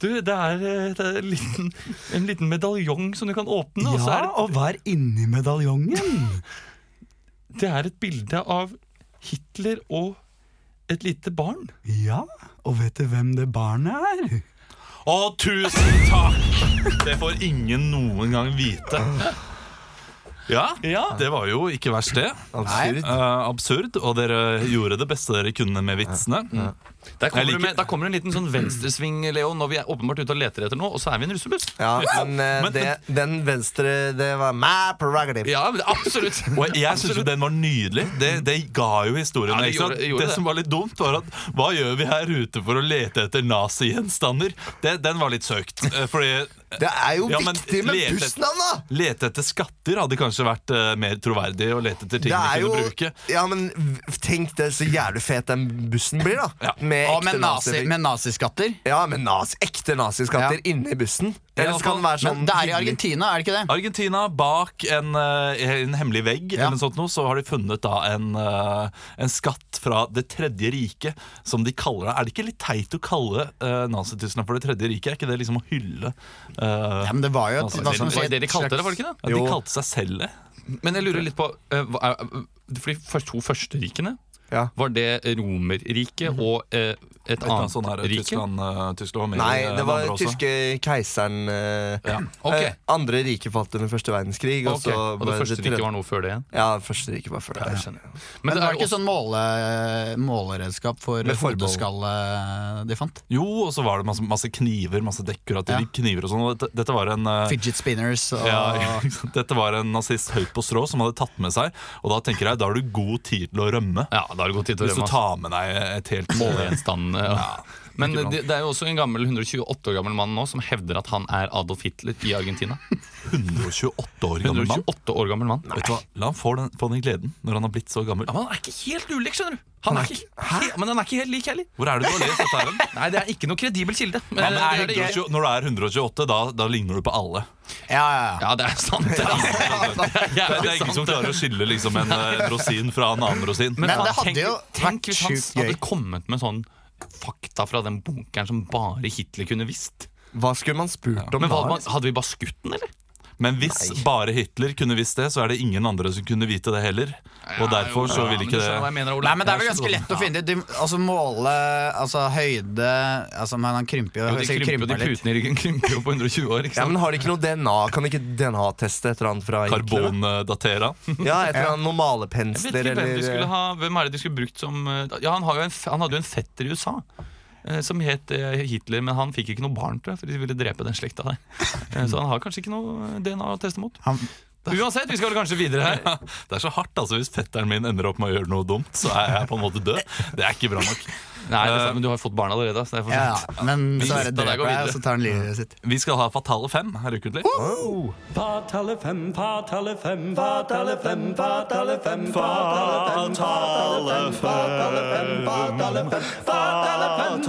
Speaker 2: Du, det er, eh, det er en, liten, en liten medaljong som du kan åpne. og så
Speaker 8: Ja,
Speaker 2: er
Speaker 8: og hva er inni medaljongen?
Speaker 2: det, det er et bilde av Hitler og et lite barn.
Speaker 8: Ja, og vet du hvem det barnet er?
Speaker 1: Å, tusen takk! Det får ingen noen gang vite. Ja,
Speaker 2: Ja.
Speaker 1: det var jo ikke verst, det.
Speaker 5: Absurd.
Speaker 1: Eh, absurd, og dere gjorde det beste dere kunne med vitsene.
Speaker 2: Der kommer,
Speaker 1: Jeg
Speaker 2: du
Speaker 1: liker-
Speaker 2: med, der kommer en liten sånn venstresving, Leo, når vi er åpenbart ute og leter etter noe, og så er vi i en russebuss.
Speaker 5: Ja, men, eh, det, den venstre, det var my prerogative.
Speaker 2: Ja, men absolutt.
Speaker 1: Og jeg synes jo den var nydelig. Det, det ga jo historien.
Speaker 2: Ja, det
Speaker 1: ikke sant?
Speaker 2: gjorde- gjorde
Speaker 1: det
Speaker 2: det.
Speaker 1: som var litt dumt, var at hva gjør vi her ute for å lete etter nazigjenstander? Det- Den var litt søkt. eh, Fordi
Speaker 5: Det er jo
Speaker 1: Ja, men
Speaker 5: viktig med
Speaker 1: lete-
Speaker 5: bussnavn, da!
Speaker 1: lete etter skatter hadde kanskje vært eh, mer troverdig å lete etter ting
Speaker 5: Det er
Speaker 1: vi
Speaker 5: jo,
Speaker 1: kunne bruke.
Speaker 5: ja, men v- tenk det så jævlig fet den bussen blir, da.
Speaker 1: Ja.
Speaker 5: Med
Speaker 4: Og
Speaker 5: ekte
Speaker 4: med, nazi,
Speaker 5: nazi-
Speaker 4: med naziskatter.
Speaker 5: Ja, men nazi, ekte naziskatter
Speaker 4: Ja.
Speaker 5: inne i bussen. Ellers kan det være sånn
Speaker 4: Men det er i
Speaker 5: hyggelig-
Speaker 4: Argentina, er det ikke det?
Speaker 1: Argentina, bak en, eh, en hemmelig vegg, eller noe sånt noe, så har de funnet da en, eh, en skatt fra Det tredje riket, som de kaller det. Er det ikke litt teit å kalle uh, nazityskerne for Det tredje riket? Er ikke det liksom å hylle eh,
Speaker 4: Ja, men det var jo et,
Speaker 1: Altså,
Speaker 2: Det
Speaker 4: hva skal man si,
Speaker 2: var sånn det de
Speaker 4: et
Speaker 2: kalte det, var
Speaker 4: slags-
Speaker 2: det ikke det?
Speaker 1: at De
Speaker 5: Jo.
Speaker 1: kalte seg selv det.
Speaker 2: Men jeg lurer litt på eh, hva er, For de først- to første rikene
Speaker 5: Ja.
Speaker 2: Var det romerriket og eh, et,
Speaker 1: Et eller annet
Speaker 2: annet
Speaker 1: sånt her,
Speaker 2: rike?
Speaker 1: Tyskland, eh, Tyskland var med i, eh,
Speaker 5: Nei, det var
Speaker 1: andre
Speaker 5: den
Speaker 1: også.
Speaker 5: tyske keiseren eh,
Speaker 1: Ja,
Speaker 2: ok.
Speaker 5: eh, Andre rike falt under første verdenskrig.
Speaker 2: Ok,
Speaker 5: Og, så
Speaker 2: Og det
Speaker 5: ble
Speaker 2: første
Speaker 5: tredje-
Speaker 2: riket var noe før det igjen?
Speaker 5: Ja, det første riket var før det. Ja,
Speaker 2: Men, det er
Speaker 4: Men var det ikke
Speaker 2: jo også,
Speaker 4: sånn måle, måleredskap for
Speaker 5: Med forbehold.
Speaker 4: hodeskalle de fant?
Speaker 1: Jo, og så var det masse, masse kniver, masse dekorative
Speaker 4: Ja.
Speaker 1: kniver og sånn. og Dette, dette var en eh,
Speaker 4: Fidget spinners og
Speaker 1: Ja, ikke sant? Dette var en nazist høyt på strå som hadde tatt med seg. Og da tenker jeg, da har du god tid til å rømme.
Speaker 2: ja, da har det gått tid til å
Speaker 1: Hvis du
Speaker 2: rømme. ass.
Speaker 1: tar med deg et helt
Speaker 2: Målegjenstanden, eh, ja. Men
Speaker 1: ikke bra.
Speaker 2: det, det er jo også en gammel 128 år gammel mann nå som hevder at han er Adolf Hitler i Argentina.
Speaker 1: 128 år gammel mann.
Speaker 2: 128 år gammel mann.
Speaker 1: Vet du hva? La han få den, få den gleden når han har blitt så gammel.
Speaker 2: Ja, men han er ikke helt ulik, skjønner du. Han er ikke, he- men han er ikke helt lik heller.
Speaker 1: Hvor er det du har lest dette? her? hen?
Speaker 2: Nei, det er ikke noe kredibel kilde.
Speaker 1: Ja,
Speaker 2: Men,
Speaker 1: men
Speaker 2: det
Speaker 1: er
Speaker 2: er det jeg-
Speaker 1: 120 Når du er 128, da, da ligner du på alle.
Speaker 4: ja, ja, ja.
Speaker 2: Ja, det er sant. Det er, det er
Speaker 1: Det
Speaker 2: jævlig
Speaker 1: er ingen
Speaker 2: sant.
Speaker 1: som klarer å skille liksom, en eh, rosin fra en annen rosin.
Speaker 4: Men
Speaker 2: faen,
Speaker 4: det hadde
Speaker 2: tenk,
Speaker 4: jo
Speaker 2: tenk
Speaker 4: vært
Speaker 2: hvis han
Speaker 4: sjukt
Speaker 2: hadde
Speaker 4: gøy.
Speaker 2: kommet med sånn fakta fra den bunkeren som bare Hitler kunne visst.
Speaker 5: Hva skulle man spurt om
Speaker 2: Men hva,
Speaker 5: da?
Speaker 2: man- Hadde vi bare skutt den, eller?
Speaker 1: Men hvis bare Hitler kunne visst det, så er det ingen andre som kunne vite det heller. Og derfor så vil ikke det
Speaker 4: Nei, men det er vel ganske lett å finne ut. De- Altså måle altså høyde altså, Men han krymper jo.
Speaker 2: Jo, de
Speaker 4: sikkert
Speaker 2: krymper, jo, de
Speaker 4: krymper litt.
Speaker 2: Putene i ryggen krymper jo på 120 år. ikke
Speaker 5: Ja, men
Speaker 2: sant?
Speaker 5: har de ikke noe DNA? Kan de ikke DNA-teste et eller annet fra Hitler, da?
Speaker 1: Karbondatera.
Speaker 5: Ja, et eller annet
Speaker 2: Jeg
Speaker 5: normalepensler
Speaker 2: vet ikke hvem, de skulle
Speaker 5: eller
Speaker 2: ha, hvem er det de skulle brukt som eh, Ja, han, har jo en, f- han hadde jo en fetter i USA eh, som het eh, Hitler, men han fikk ikke noe barn, tror jeg, for de ville drepe den slekta der. Eh, Så han har kanskje ikke noe eh, DNA å teste mot.
Speaker 4: Han-
Speaker 2: Uansett, vi skal vel kanskje videre her.
Speaker 1: Det er så hardt, altså. Hvis fetteren min ender opp med å gjøre noe dumt, så er jeg på en måte død. Det er ikke bra nok. Eh,
Speaker 2: Nei, det er sant, men du har fått barn allerede. Så det er for
Speaker 4: Ja,
Speaker 2: sent.
Speaker 4: ja. Men
Speaker 2: Vi
Speaker 4: så er det
Speaker 2: sitter der og går
Speaker 4: dreper jeg,
Speaker 2: videre.
Speaker 4: og så tar han livet sitt.
Speaker 1: Vi skal ha Fatale fem her ukentlig.
Speaker 8: Fatale fem, fatale fem, fatale fem, fatale fem, fatale fem, fatale fem, fatale fem, fatale fem, fatale fem,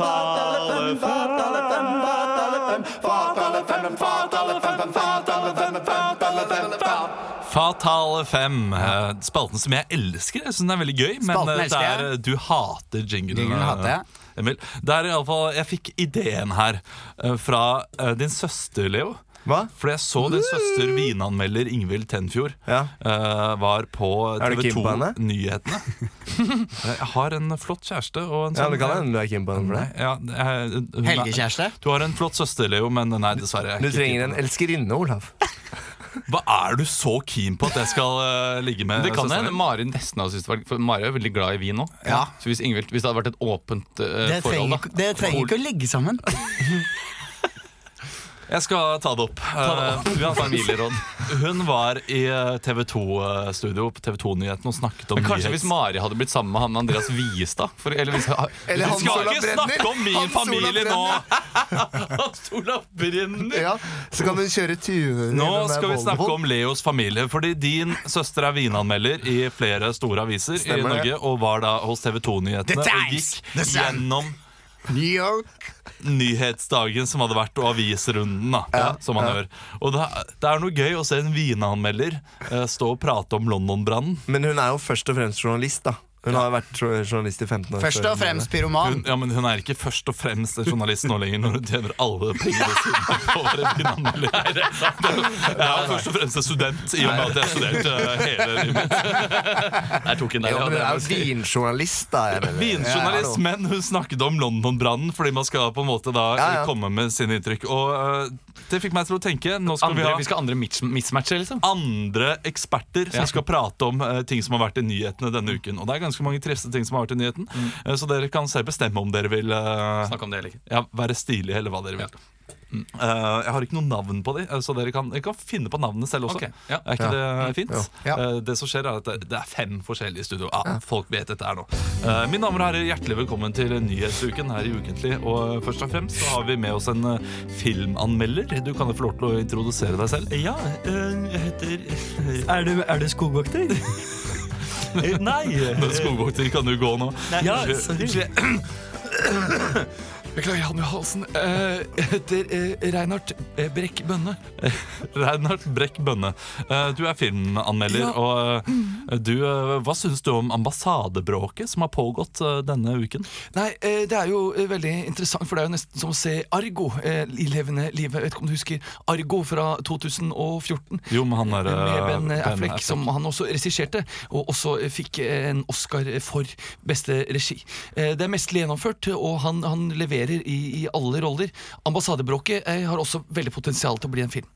Speaker 8: fatale fem, fatale fem, fatale fem, fatale fem, fatale fem, fatale fem, fatale fem, fatale fem.
Speaker 1: Fatale 5. eh, Spalten som jeg elsker. Jeg syns den er veldig gøy. Men
Speaker 4: Spalten
Speaker 1: eh, det
Speaker 4: elsker jeg.
Speaker 1: er, eh, du hater jinglen.
Speaker 4: Jinglen hater jeg.
Speaker 1: eh, Emil. Det er i alle fall, jeg fikk ideen her eh, fra eh, din søster, Leo.
Speaker 5: Hva? Uh!
Speaker 1: For jeg så din søster vinanmelder Ingvild Tenfjord
Speaker 5: Ja.
Speaker 1: eh, var på
Speaker 5: Er du
Speaker 1: TV
Speaker 5: keen på henne?
Speaker 1: 2-nyhetene. jeg har en flott kjæreste og en sånn
Speaker 5: Ja,
Speaker 1: eh,
Speaker 5: det kan hende du er keen på den for det.
Speaker 1: Ja, jeg- hun er-
Speaker 4: Helgekjæreste?
Speaker 1: Du har en flott søster, Leo, men nei, dessverre. jeg er
Speaker 5: Du
Speaker 1: ikke
Speaker 5: trenger
Speaker 1: keen
Speaker 5: en
Speaker 1: på
Speaker 5: elskerinne, Olav.
Speaker 1: det. Hva er du så keen på at jeg skal eh, ligge med
Speaker 2: Det kan
Speaker 1: søsteren
Speaker 2: hende
Speaker 1: din?
Speaker 2: Mari nesten hadde syntes det var For Mari er jo veldig glad i vin nå.
Speaker 4: Ja.
Speaker 2: Så hvis, Ingvild, hvis det hadde vært et åpent eh,
Speaker 4: Dere
Speaker 2: forhold,
Speaker 4: trenger,
Speaker 2: da
Speaker 4: dere trenger ikke å ligge sammen.
Speaker 1: Jeg skal ta det opp. Eh,
Speaker 2: Ja, familieråd.
Speaker 1: hun var i eh, TV 2-studio på TV 2-nyheten og snakket om
Speaker 2: Men kanskje
Speaker 1: nyhets-
Speaker 2: hvis Mari hadde blitt sammen med han Andreas Viestad? For, eller hvis,
Speaker 3: Eller
Speaker 1: Vi
Speaker 3: Hans
Speaker 1: skal
Speaker 3: Olav
Speaker 1: ikke
Speaker 3: Brenner.
Speaker 1: snakke om min
Speaker 3: Hans Olav
Speaker 1: familie nå! Hans Olav Brenner!
Speaker 3: Ja, så kan hun kjøre turer.
Speaker 1: Nå skal vi snakke om Leos familie, fordi din søster er vinanmelder i flere store aviser i
Speaker 3: Stemmer det.
Speaker 1: Norge, og var da hos TV
Speaker 4: The
Speaker 1: 2-nyhetene og
Speaker 4: Times,
Speaker 1: gikk
Speaker 4: The Sun.
Speaker 1: gjennom
Speaker 4: New York.
Speaker 1: nyhetsdagen som hadde vært, og avisrunden. da, som man gjør. Og det, er- det er noe gøy å se en vinanmelder eh, stå og prate om London-brannen.
Speaker 5: Men hun er jo først og fremst journalist, da. Hun har jo vært jo- journalist i 15 år.
Speaker 4: Først
Speaker 5: før
Speaker 4: og
Speaker 5: hun-
Speaker 4: fremst pyroman.
Speaker 1: Hun, ja, men hun er ikke først og fremst en journalist nå lenger, når hun tjener alle pengene sine på å være vinanmelder. Jeg er jo først og fremst en student, i og med at jeg har studert eh, hele livet mitt.
Speaker 2: jeg tok inn der, ja,
Speaker 5: Ja, men hun
Speaker 2: det er
Speaker 5: er jo
Speaker 2: vel-
Speaker 5: vinjournalist, da. Jeg mener.
Speaker 1: Vinjournalist, men hun snakket om London-brannen fordi man skal på en måte da
Speaker 5: Ja, ja.
Speaker 1: komme med sine inntrykk. Og eh, det fikk meg til å tenke. Nå skal
Speaker 2: andre,
Speaker 1: vi ha
Speaker 2: vi skal ha andre mis- mismatcher, liksom.
Speaker 1: andre eksperter som
Speaker 2: Ja.
Speaker 1: skal prate om eh, ting som har vært i nyhetene denne uken. Og det er ganske mange triste ting som har vært i nyheten, eh, så dere kan selv bestemme om dere vil eh,
Speaker 2: Mm. Snakke om det eller ikke.
Speaker 1: ja, være stilige eller hva dere vil. Mm. Eh, jeg har ikke noe navn på de, eh, så dere kan, dere kan finne på navnene selv også.
Speaker 2: Ok, ja.
Speaker 1: Er ikke det fint?
Speaker 4: Ja.
Speaker 1: Eh, det som skjer er at det, det er fem forskjellige studio. Ja, Folk vet dette her nå. Eh, mine damer og herrer, hjertelig velkommen til Nyhetsuken her i Ukentlig. Og eh, først og fremst så har vi med oss en eh, filmanmelder. Du kan jo få lov til å introdusere deg selv.
Speaker 8: Ja, øh, jeg heter Er det, er det skogvokter? Eh, Nei.
Speaker 1: Men Skogvokter, kan du gå nå?
Speaker 8: Ja, sorry.
Speaker 1: Beklager, Jan Johansen. Eh, Jeg heter Reinhardt Brekk Bønne. Reinhardt Brekk Bønne. Eh, Du er filmanmelder, og eh, du, eh, hva syns du om ambassadebråket som har pågått eh, denne uken?
Speaker 9: Nei, eh, det er jo eh, veldig interessant, for det er jo nesten som å se Argo eh, i levende liv. Jeg vet ikke om du husker Argo fra 2014?
Speaker 1: Jo, med han der
Speaker 9: Med
Speaker 1: eh,
Speaker 9: Ben Affleck,
Speaker 1: Affleck.
Speaker 9: som han også regisserte, og også eh, fikk eh, en Oscar for beste regi. Eh, Det er mestlig gjennomført, og han, han leverer i, i alle roller. Ambassadebråket eh, har også veldig potensial til å bli en film.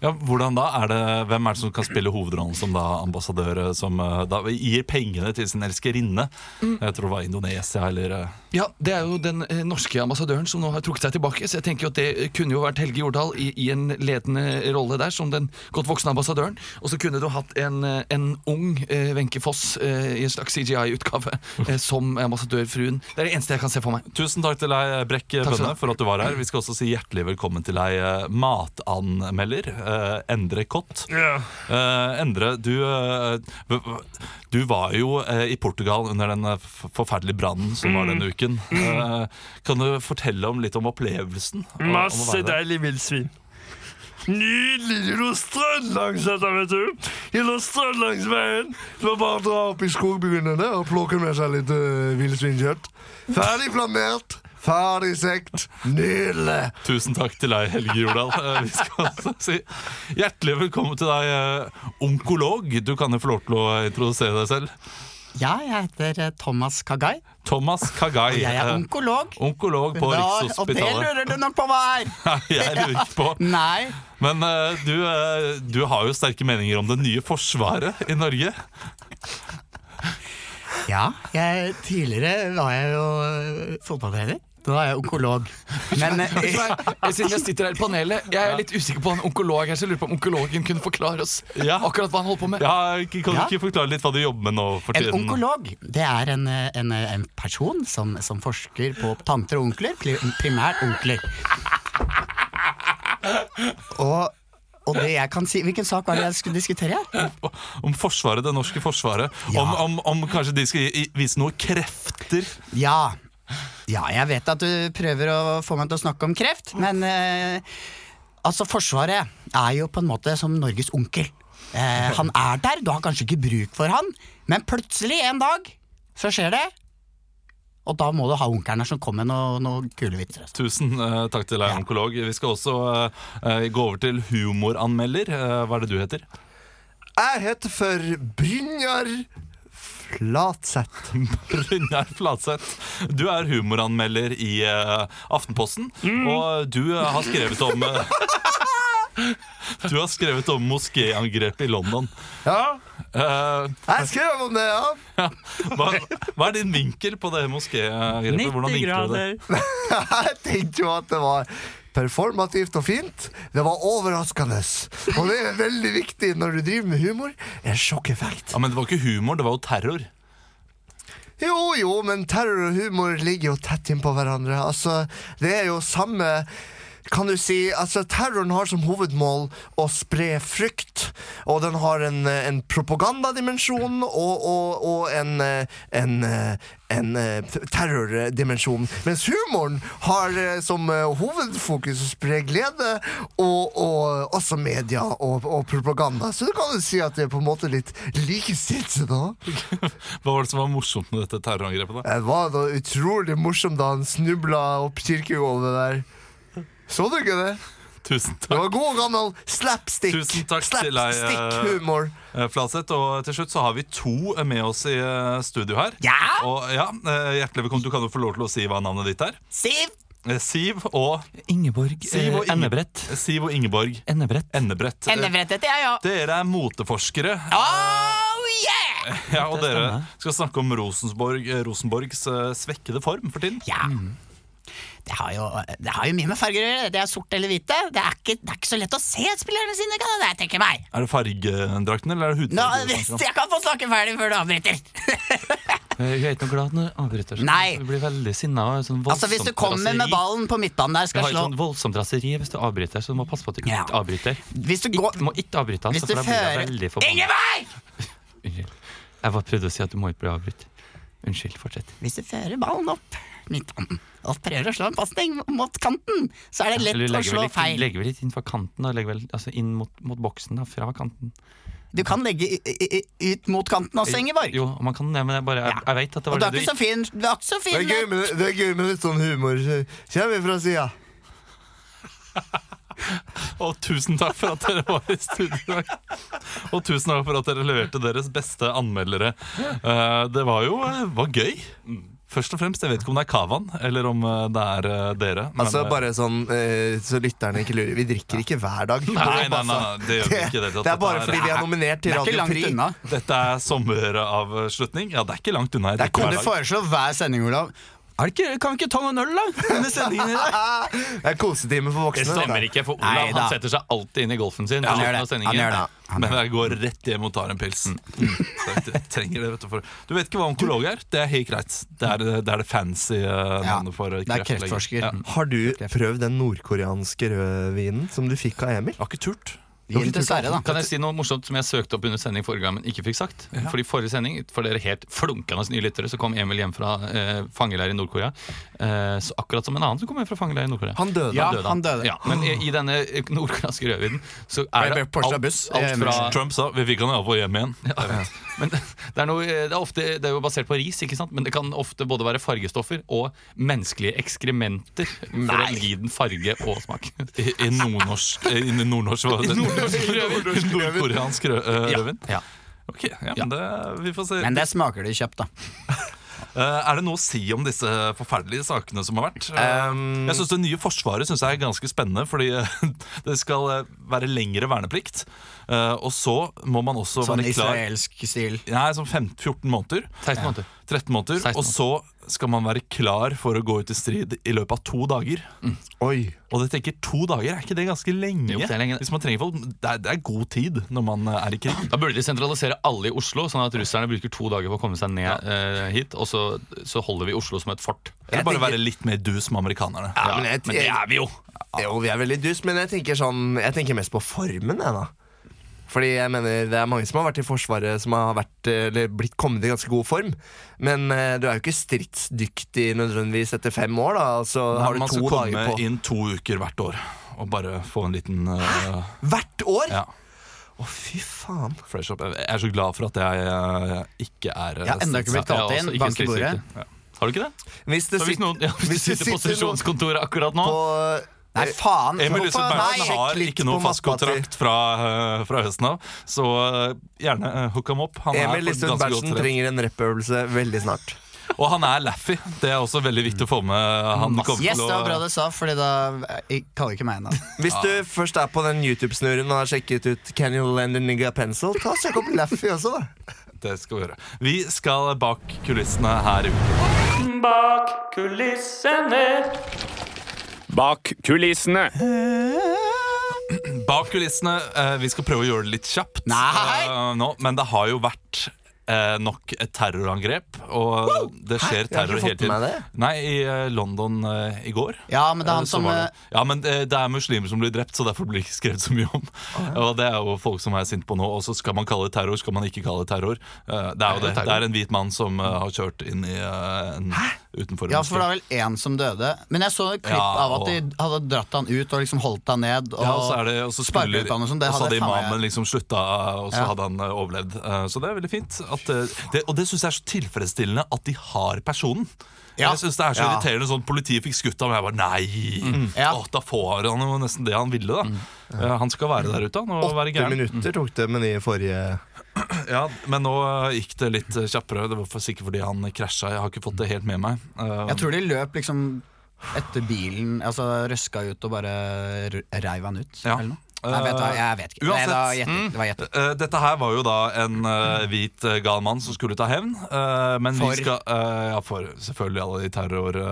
Speaker 1: Ja, hvordan da? Er det, hvem er det som kan spille hovedrollen som da ambassadør, eh, som eh, da gir pengene til sin elskerinne?
Speaker 9: Mm.
Speaker 1: Jeg tror det var Indonesia, eller eh,
Speaker 9: Ja, Det er jo den eh, norske ambassadøren som nå har trukket seg tilbake. Så jeg tenker jo at det eh, kunne jo vært Helge Jordal i, i en ledende rolle der, som den godt voksne ambassadøren. Og så kunne du hatt en, eh, en ung eh, Wenche Foss eh, i en slags CGI-utgave eh, som ambassadørfruen. Det er det eneste jeg kan se for meg.
Speaker 1: Tusen takk til deg, Brekk
Speaker 9: skal du
Speaker 1: Bønne,
Speaker 9: ha.
Speaker 1: for at du var her. Vi skal også si hjertelig velkommen til deg, eh, matanmelder eh, Endre Kott. Eh, Endre, du, eh, v- v- du var jo eh, i Portugal under den eh, f- forferdelige brannen som var denne uken. Eh, kan du fortelle om litt om opplevelsen? av- om å være der?
Speaker 10: deilig villsvin. Nydelig lå strødd langs dette, vet du. De lå strødd langs veien.
Speaker 3: Det var bare å
Speaker 5: eh,
Speaker 3: dra opp i skogbugnene og plukke med seg litt uh, villsvinkjøtt. Ferdig flamert, Ferdig sekt. Nydelig.
Speaker 1: Tusen takk til deg, Helge Jordal. Eh, Vi skal altså si hjertelig velkommen til deg, eh, onkolog. Du kan jo få lov til å introdusere deg selv.
Speaker 4: Ja, jeg heter eh, Thomas Kagai.
Speaker 1: Thomas Kagai.
Speaker 4: Jeg er
Speaker 1: eh,
Speaker 4: onkolog.
Speaker 1: Onkolog på
Speaker 4: Da- og det
Speaker 1: Rikshospitalet.
Speaker 4: lurer du nok på hva er!
Speaker 1: Nei, jeg lurer ikke på.
Speaker 4: Nei.
Speaker 1: Men eh, du, eh, du har jo sterke meninger om det nye forsvaret i Norge.
Speaker 4: Ja, jeg, tidligere var jeg jo eh, fotballtrener. Nå er jeg onkolog. Men eh,
Speaker 9: Jeg- Siden jeg sitter her i panelet, jeg er litt usikker på hva en onkolog her, så jeg lurer på om onkologen kunne forklare oss
Speaker 1: Ja.
Speaker 9: akkurat hva han holder på med.
Speaker 1: Ja, ikke- kan du
Speaker 4: Ja.
Speaker 1: ikke forklare litt hva du jobber med nå for
Speaker 4: en
Speaker 1: tiden?
Speaker 4: onkolog det er en, eh, en, eh, en person som, som forsker på tanter og onkler, pri- primært onkler. Og, og det jeg kan si Hvilken sak var det jeg skulle diskutere her?
Speaker 1: Om forsvaret, det norske forsvaret.
Speaker 4: Ja.
Speaker 1: Om, om, om kanskje de skal i- i- vise noen krefter.
Speaker 4: Ja. ja, jeg vet at du prøver å få meg til å snakke om kreft, men eh, altså, Forsvaret er jo på en måte som Norges onkel. Eh, han er der, du har kanskje ikke bruk for han, men plutselig en dag så skjer det. Og da må du ha onkelen her som kommer med noen noe kule vitser. altså.
Speaker 1: Tusen eh, takk til deg, onkolog. Vi skal også eh, eh, gå over til humoranmelder. Eh, hva er det du heter?
Speaker 5: Jeg heter for Brynjar Flatseth.
Speaker 1: Brynjar Flatseth. Du er humoranmelder i eh, Aftenposten, og du eh, har skrevet om eh, Du har skrevet om moskéangrepet i London.
Speaker 5: Ja,
Speaker 1: Eh,
Speaker 5: jeg skrev om det, ja.
Speaker 1: hva, hva er din vinkel på det moskéangrepet? Hvordan vinkler du det?
Speaker 5: Jeg tenkte jo at det var performativt og fint. Det var overraskende. Og det er veldig viktig når du driver med humor. En sjokkeffekt.
Speaker 1: Ja, men det var ikke humor, det var jo terror.
Speaker 5: Jo, jo, men terror og humor ligger jo tett innpå hverandre. Altså, det er jo samme kan du si, altså Terroren har som hovedmål å spre frykt. Og den har en, eh, en propagandadimensjon og, og, og en, eh, en, eh, en eh, terrordimensjon. Mens humoren har eh, som eh, hovedfokus å spre glede, og, og også media og, og propaganda. Så du kan jo si at det er på en måte litt likestilt. da.
Speaker 1: Hva var det som var morsomt med dette terrorangrepet? da?
Speaker 5: Det var da utrolig morsomt da han snubla opp kirkegulvet der. Så du ikke det?
Speaker 1: Tusen
Speaker 5: Det
Speaker 1: takk.
Speaker 5: var god gammel slapstick.
Speaker 1: Tusen takk til deg, eh,
Speaker 5: Slapstick-humor.
Speaker 1: Eh, Flatseth, og til slutt så har vi to eh, med oss i eh, studio her.
Speaker 4: Ja!
Speaker 1: Og ja, eh, Hjertelig velkommen. Du kan jo få lov til å si hva navnet ditt er.
Speaker 4: Siv!
Speaker 1: Eh, Siv og
Speaker 2: Ingeborg eh,
Speaker 1: Siv og Inge-
Speaker 2: Ennebrett.
Speaker 1: Siv og Ingeborg
Speaker 2: Ennebrett.
Speaker 1: Ennebrett. Eh,
Speaker 4: Endebrett heter jeg, ja.
Speaker 1: Dere er moteforskere,
Speaker 4: Oh yeah!
Speaker 1: ja, og
Speaker 2: det
Speaker 1: dere
Speaker 2: stemmer.
Speaker 1: skal snakke om Rosenborg, eh, Rosenborgs eh, svekkede form for tiden.
Speaker 4: Ja. Det har, jo, det har jo mye med farger å gjøre. Det er sort eller hvite. Det er ikke, det er ikke så lett å se spillerne sine, kan det det, tenker jeg meg.
Speaker 1: Er det fargedrakten eller er det
Speaker 4: Nå,
Speaker 1: hudfargen?
Speaker 4: hvis jeg kan få snakke ferdig før du avbryter.
Speaker 2: eh, Jeg er ikke noe glad når jeg avbryter. sånn.
Speaker 4: Nei.
Speaker 2: Jeg blir veldig sinna. og Sånn
Speaker 4: Altså Hvis du
Speaker 2: voldsomt
Speaker 4: kommer med
Speaker 2: raseri.
Speaker 4: ballen på midtbanen der,
Speaker 2: Jeg
Speaker 4: skal
Speaker 2: har et
Speaker 4: slå
Speaker 2: sånn voldsomt raseri hvis du avbryter, så du må passe på at du ikke
Speaker 4: Ja.
Speaker 2: avbryter.
Speaker 4: Hvis du går
Speaker 2: Du må ikke avbryte,
Speaker 4: Hvis
Speaker 2: altså,
Speaker 4: du
Speaker 2: for da blir jeg
Speaker 4: fører
Speaker 2: veldig forbanna.
Speaker 4: Ingeborg!
Speaker 2: Unnskyld. Jeg bare prøvde å si at du må ikke bli avbrutt. Unnskyld, fortsett.
Speaker 4: Hvis du fører ballen opp midtbanen og prøver å slå en pasning mot kanten, så er det
Speaker 2: Eller
Speaker 4: lett å
Speaker 2: legger
Speaker 4: slå
Speaker 2: vel ikke,
Speaker 4: feil.
Speaker 2: legger vel ikke inn fra kanten, da. Legger vel altså inn mot, mot boksen, da. Fra kanten.
Speaker 4: Du kan legge i- i- i- ut mot kanten også, Ingeborg.
Speaker 2: Jo, og man kan det, men jeg bare Jeg, jeg vet at det
Speaker 4: Og
Speaker 2: var
Speaker 4: du er
Speaker 2: det
Speaker 4: ikke så fin. Du er ikke så
Speaker 5: Det er,
Speaker 4: fin.
Speaker 5: gøy med, det er gøy med litt sånn humor. Kjem fra sida.
Speaker 1: Og tusen takk for at dere var i studio i dag. Og tusen takk for at dere leverte deres beste anmeldere. Eh, Det var jo eh, var gøy. Først og fremst, Jeg vet ikke om det er Kavan eller om eh, det er eh, dere. men,
Speaker 5: Altså
Speaker 1: eh,
Speaker 5: bare sånn eh, så lytterne ikke lurer. Vi drikker ikke hver dag.
Speaker 1: Nei, nei, nei, nei, det gjør vi ikke. i hele tatt.
Speaker 5: Det er bare
Speaker 1: Dette
Speaker 5: fordi vi er nominert
Speaker 4: Det
Speaker 5: til
Speaker 4: er ikke
Speaker 5: Radio
Speaker 4: langt
Speaker 5: Pri.
Speaker 4: unna.
Speaker 1: Dette er sommeravslutning. Ja, det er ikke langt unna. Jeg
Speaker 4: Der
Speaker 1: drikker
Speaker 4: kan du
Speaker 1: hver dag.
Speaker 4: foreslå hver sending, Olav. Er det ikke, kan vi ikke ta noen øl, da? Under sendingen i dag?
Speaker 5: Det er kosetime for
Speaker 2: Det
Speaker 5: voksne.
Speaker 2: stemmer
Speaker 5: dette.
Speaker 2: ikke, for
Speaker 4: Nei
Speaker 2: Olav
Speaker 4: da.
Speaker 2: han setter seg alltid inn i golfen sin.
Speaker 4: Han
Speaker 2: på
Speaker 4: gjør
Speaker 2: slutten av
Speaker 4: det.
Speaker 2: sendingen.
Speaker 4: Han gjør det.
Speaker 1: Men
Speaker 4: Han gjør det. Mm.
Speaker 1: jeg går rett hjem og tar en pils. Mm. Så jeg t- trenger det, vet du. For. Du vet ikke hva onkolog er? Det er helt greit. Det er det, er det fancy eh, navnet for
Speaker 4: det er kreftforsker.
Speaker 1: Ja.
Speaker 5: Har du prøvd den nordkoreanske rødvinen som du fikk av Emil?
Speaker 1: Har ikke turt.
Speaker 4: Gil dessverre, da.
Speaker 2: Kan jeg si noe morsomt som jeg søkte opp under sending forrige gang, men ikke fikk sagt? Fordi forrige sending, for dere helt flunkende nye lyttere, så kom Emil hjem fra eh, fangeleir i Nord-Korea. Eh, så akkurat som en annen som kom hjem fra fangeleir i Nord-Korea.
Speaker 5: Han døde.
Speaker 4: Ja, han døde.
Speaker 2: Ja, men i, i denne eh, nordkoreanske rødvinen så
Speaker 4: Ble
Speaker 2: er det
Speaker 4: det Porsche og
Speaker 2: alt,
Speaker 4: buss?
Speaker 2: alt fra
Speaker 1: Trump sa vi fikk han iallfall hjem igjen.
Speaker 2: ja, jeg vet. Men det det er, noe, eh, det, er ofte, det er jo basert på ris, ikke sant? men det kan ofte både være fargestoffer og menneskelige ekskrementer for å gi den farge og smak.
Speaker 1: I, i nordnorsk eh, I nordnorsk hva var det? Nordkoreansk rø- eh, rødvin?
Speaker 2: Ja.
Speaker 1: Ok, ja, men det, vi får se.
Speaker 4: Men det smaker de kjøpt, da.
Speaker 1: Eh, er det noe å si om disse forferdelige sakene som har vært? jeg synes Det nye Forsvaret synes jeg er ganske spennende, fordi eh, det skal eh, være lengre verneplikt. Eh, og så må man også
Speaker 4: Sånn
Speaker 1: være klar
Speaker 4: israelsk stil.
Speaker 1: Nei, sånn fem- 14 måneder.
Speaker 2: 16 måneder.
Speaker 1: 13 måneder.
Speaker 2: 16
Speaker 1: Og så skal man være klar for å gå ut i strid i løpet av to dager.
Speaker 5: Oi.
Speaker 1: Og det tenker to dager, er ikke det ganske lenge?
Speaker 2: Mm. Jo, det er lenge, det.
Speaker 1: Hvis man trenger folk, det er, det er god tid når man eh, er i krig.
Speaker 2: Da burde de sentralisere alle i Oslo, sånn at russerne bruker to dager på å komme seg ned eh, hit. Og så, så holder vi Oslo som et fort.
Speaker 1: Eller bare være litt mer dus med amerikanerne.
Speaker 5: Ja, men, jeg,
Speaker 2: Men det er vi jo!
Speaker 5: Jo, vi er veldig dus, men jeg tenker, sånn, jeg tenker mest på formen, jeg, da. Fordi jeg mener det er mange som har vært i Forsvaret som har vært, eller blitt kommet i ganske god form. Men eh, du er jo ikke stridsdyktig nødvendigvis etter fem år, da. Altså, har du
Speaker 1: man
Speaker 5: to
Speaker 1: skal komme
Speaker 5: dager på
Speaker 1: inn to uker hvert år og bare få en liten eh,
Speaker 5: Hvert år?!
Speaker 1: ja,
Speaker 5: Å, fy faen.
Speaker 1: fresh up. Jeg er så glad for at jeg eh, ikke er eh,
Speaker 4: Jeg har ennå ikke blitt kalt
Speaker 2: Ja,
Speaker 4: inn.
Speaker 2: altså, ikke
Speaker 4: Bank i bordet.
Speaker 2: stridsdyktig. Har du ikke det?
Speaker 5: Hvis det
Speaker 2: Så hvis, noen, ja, hvis du
Speaker 5: det
Speaker 2: sitter på
Speaker 5: sitter noen
Speaker 2: stasjonskontoret akkurat nå
Speaker 5: på-
Speaker 4: Nei, faen!
Speaker 1: Eh, Emil Lyset
Speaker 4: Hvorfor?
Speaker 1: Bergman
Speaker 4: Nei,
Speaker 1: har
Speaker 5: litt
Speaker 1: ikke
Speaker 5: på
Speaker 1: noe
Speaker 5: mappa
Speaker 1: fast kontrakt fra, eh, fra høsten av, så eh, gjerne eh, hook ham opp. Han
Speaker 5: Emil
Speaker 1: er ganske
Speaker 5: Listhaug
Speaker 1: godt
Speaker 5: Berntsen
Speaker 1: trent.
Speaker 5: trenger en rappøvelse veldig snart.
Speaker 1: Og han er Laffy. Det er også veldig viktig å få med. Han kommer
Speaker 4: Yes,
Speaker 1: til
Speaker 4: det var bra
Speaker 1: å
Speaker 4: du sa, Fordi da jeg kaller ikke meg en navn.
Speaker 5: Hvis du først er på den YouTube-snurren og har sjekket ut Can you lend a nigga a pencil, ta og sjekk opp Laffy også, da.
Speaker 1: Det skal vi gjøre. Vi skal bak kulissene her i uke.
Speaker 8: Bak kulissene.
Speaker 11: Bak kulissene.
Speaker 1: Bak kulissene. eh, Vi skal prøve å gjøre det litt kjapt
Speaker 4: Nei!
Speaker 1: eh, nå, men det har jo vært eh, nok et terrorangrep, og det skjer
Speaker 5: Jeg har ikke
Speaker 1: terror hele
Speaker 5: fått med
Speaker 1: tiden.
Speaker 5: meg det.
Speaker 1: Nei, i eh, London eh, i går.
Speaker 4: Ja, men det er
Speaker 1: eh,
Speaker 4: han
Speaker 1: så
Speaker 4: som
Speaker 1: var
Speaker 4: eh,
Speaker 1: det- Ja, men eh, det er muslimer som blir drept, så derfor blir det ikke skrevet så mye om. Og Det er jo folk som er sinte på nå. Og så skal man kalle det terror, skal man ikke kalle det terror. Eh, Det er jo det. Det er en hvit mann som eh, har kjørt inn i eh, en utenfor en
Speaker 4: Ja,
Speaker 1: moské.
Speaker 4: for det var vel én som døde. Men jeg så et klipp
Speaker 1: Ja,
Speaker 4: av at de hadde dratt han ut og liksom holdt han ned. Og,
Speaker 1: Ja, og så er det Og så
Speaker 4: sparket
Speaker 1: spiller
Speaker 4: ut han og sånn. Det
Speaker 1: og så
Speaker 4: hadde
Speaker 1: hadde
Speaker 4: jeg faen meg-
Speaker 1: imamen liksom slutta, og så
Speaker 4: Ja.
Speaker 1: hadde han eh, overlevd. Eh, Så det er veldig fint. At, eh, det, og det syns jeg er så tilfredsstillende at de har personen.
Speaker 4: Ja. Mm.
Speaker 1: Jeg synes Det er så irriterende sånn politiet fikk skutt ham, og jeg bare nei!
Speaker 4: Ja. Mm.
Speaker 1: Åh, da får han jo nesten det han ville, da. Eh, Han skal være der ute, han, og være
Speaker 5: Åtte
Speaker 1: gæren.
Speaker 5: minutter tok det med de forrige
Speaker 1: Ja, men nå eh, gikk det litt eh, kjappere. Det var for sikkert fordi han krasja. Jeg har ikke fått det helt med meg. Eh,
Speaker 4: Jeg tror de løp liksom etter bilen, altså røska ut og bare r- reiv han ut.
Speaker 1: Ja.
Speaker 4: Eller noe. Nei, vet du, hva, jeg vet ikke.
Speaker 1: Uansett.
Speaker 4: Nei, da, gjetter jeg. det var gjetting.
Speaker 1: Eh, dette her var jo da en eh, hvit eh, gal mann som skulle ta hevn. eh, men
Speaker 4: For?
Speaker 1: vi skal eh, Ja, for selvfølgelig alle de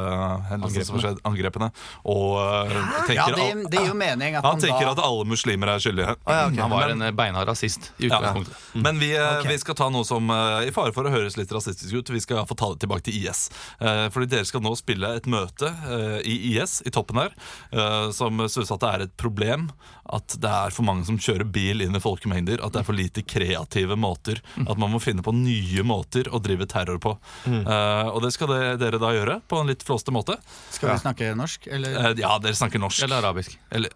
Speaker 1: terrorangrepene som har skjedd. Angrepene. Og eh,
Speaker 4: Ja,
Speaker 1: tenker
Speaker 4: det,
Speaker 1: al-
Speaker 4: det gir jo mening at
Speaker 1: han
Speaker 4: han
Speaker 1: tenker at
Speaker 4: da
Speaker 1: alle muslimer er skyldige.
Speaker 2: Han var en eh, beinhard rasist i
Speaker 1: Ja.
Speaker 2: utgangspunktet.
Speaker 1: Men vi, eh, vi skal ta noe som eh, i fare for å høres litt rasistisk ut. Vi skal få ta det tilbake til IS. Eh, fordi dere skal nå spille et møte eh, i IS, i toppen her, eh, som synes at det er et problem at det er for mange som kjører bil inn i folkemengder. At det er for lite kreative måter. At man må finne på nye måter å drive terror på. Eh, og det skal det, dere da gjøre, på en litt flåste måte.
Speaker 4: Skal vi snakke norsk, eller?
Speaker 1: Eh, ja, dere snakker norsk.
Speaker 2: Eller arabisk.
Speaker 1: Eller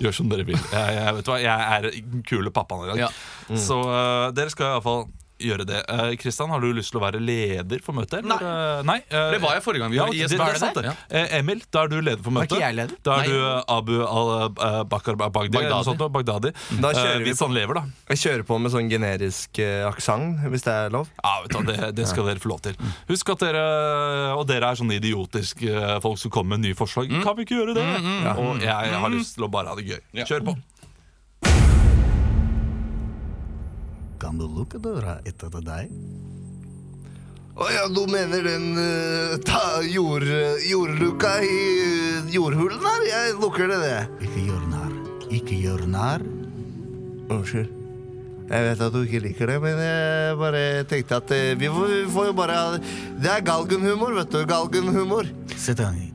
Speaker 1: gjør som dere vil. Jeg, jeg, vet du hva, jeg er den kule pappaen i dag.
Speaker 2: Ja.
Speaker 1: Så øh, dere skal iallfall gjøre det. Eh, Kristian, har du lyst til å være leder for møtet? eller? Eh, nei eh,
Speaker 2: Det var jeg forrige gang vi
Speaker 1: ja,
Speaker 2: var
Speaker 1: ok,
Speaker 2: i
Speaker 1: det,
Speaker 2: IS.
Speaker 1: det, er sant, det.
Speaker 2: Ja.
Speaker 1: Eh, Emil, da er du leder for møtet.
Speaker 4: ikke jeg leder?
Speaker 1: Da
Speaker 2: Nei.
Speaker 1: er du eh, Abu al-Bakar Bagdi. eller noe
Speaker 2: Baghdadi. Mm.
Speaker 1: sånt, da, Baghdadi.
Speaker 5: Da
Speaker 1: Eh,
Speaker 5: kjører vi
Speaker 1: hvis han lever, da.
Speaker 5: Jeg kjører på med sånn generisk uh, aksent, hvis det er lov.
Speaker 1: Ja, vet du, hva, det, det skal dere få lov til. Husk at dere eh, Og dere er sånne idiotiske eh, folk som kommer med nye forslag.
Speaker 2: Mm.
Speaker 1: Kan vi ikke gjøre det? Og jeg har lyst til å bare ha det gøy. Kjør på.
Speaker 3: Kan du lukke døra etter deg?
Speaker 5: Å ja, du mener den eh, jordluka i eh, jordhulen her? Jeg lukker det, det.
Speaker 3: Ikke gjør narr. Ikke gjør narr.
Speaker 5: Unnskyld. Jeg vet at du ikke liker det, men jeg bare tenkte at eh, vi får, vi får jo bare ha Det er galgenhumor, vet du. Galgenhumor.
Speaker 3: Sett deg ned.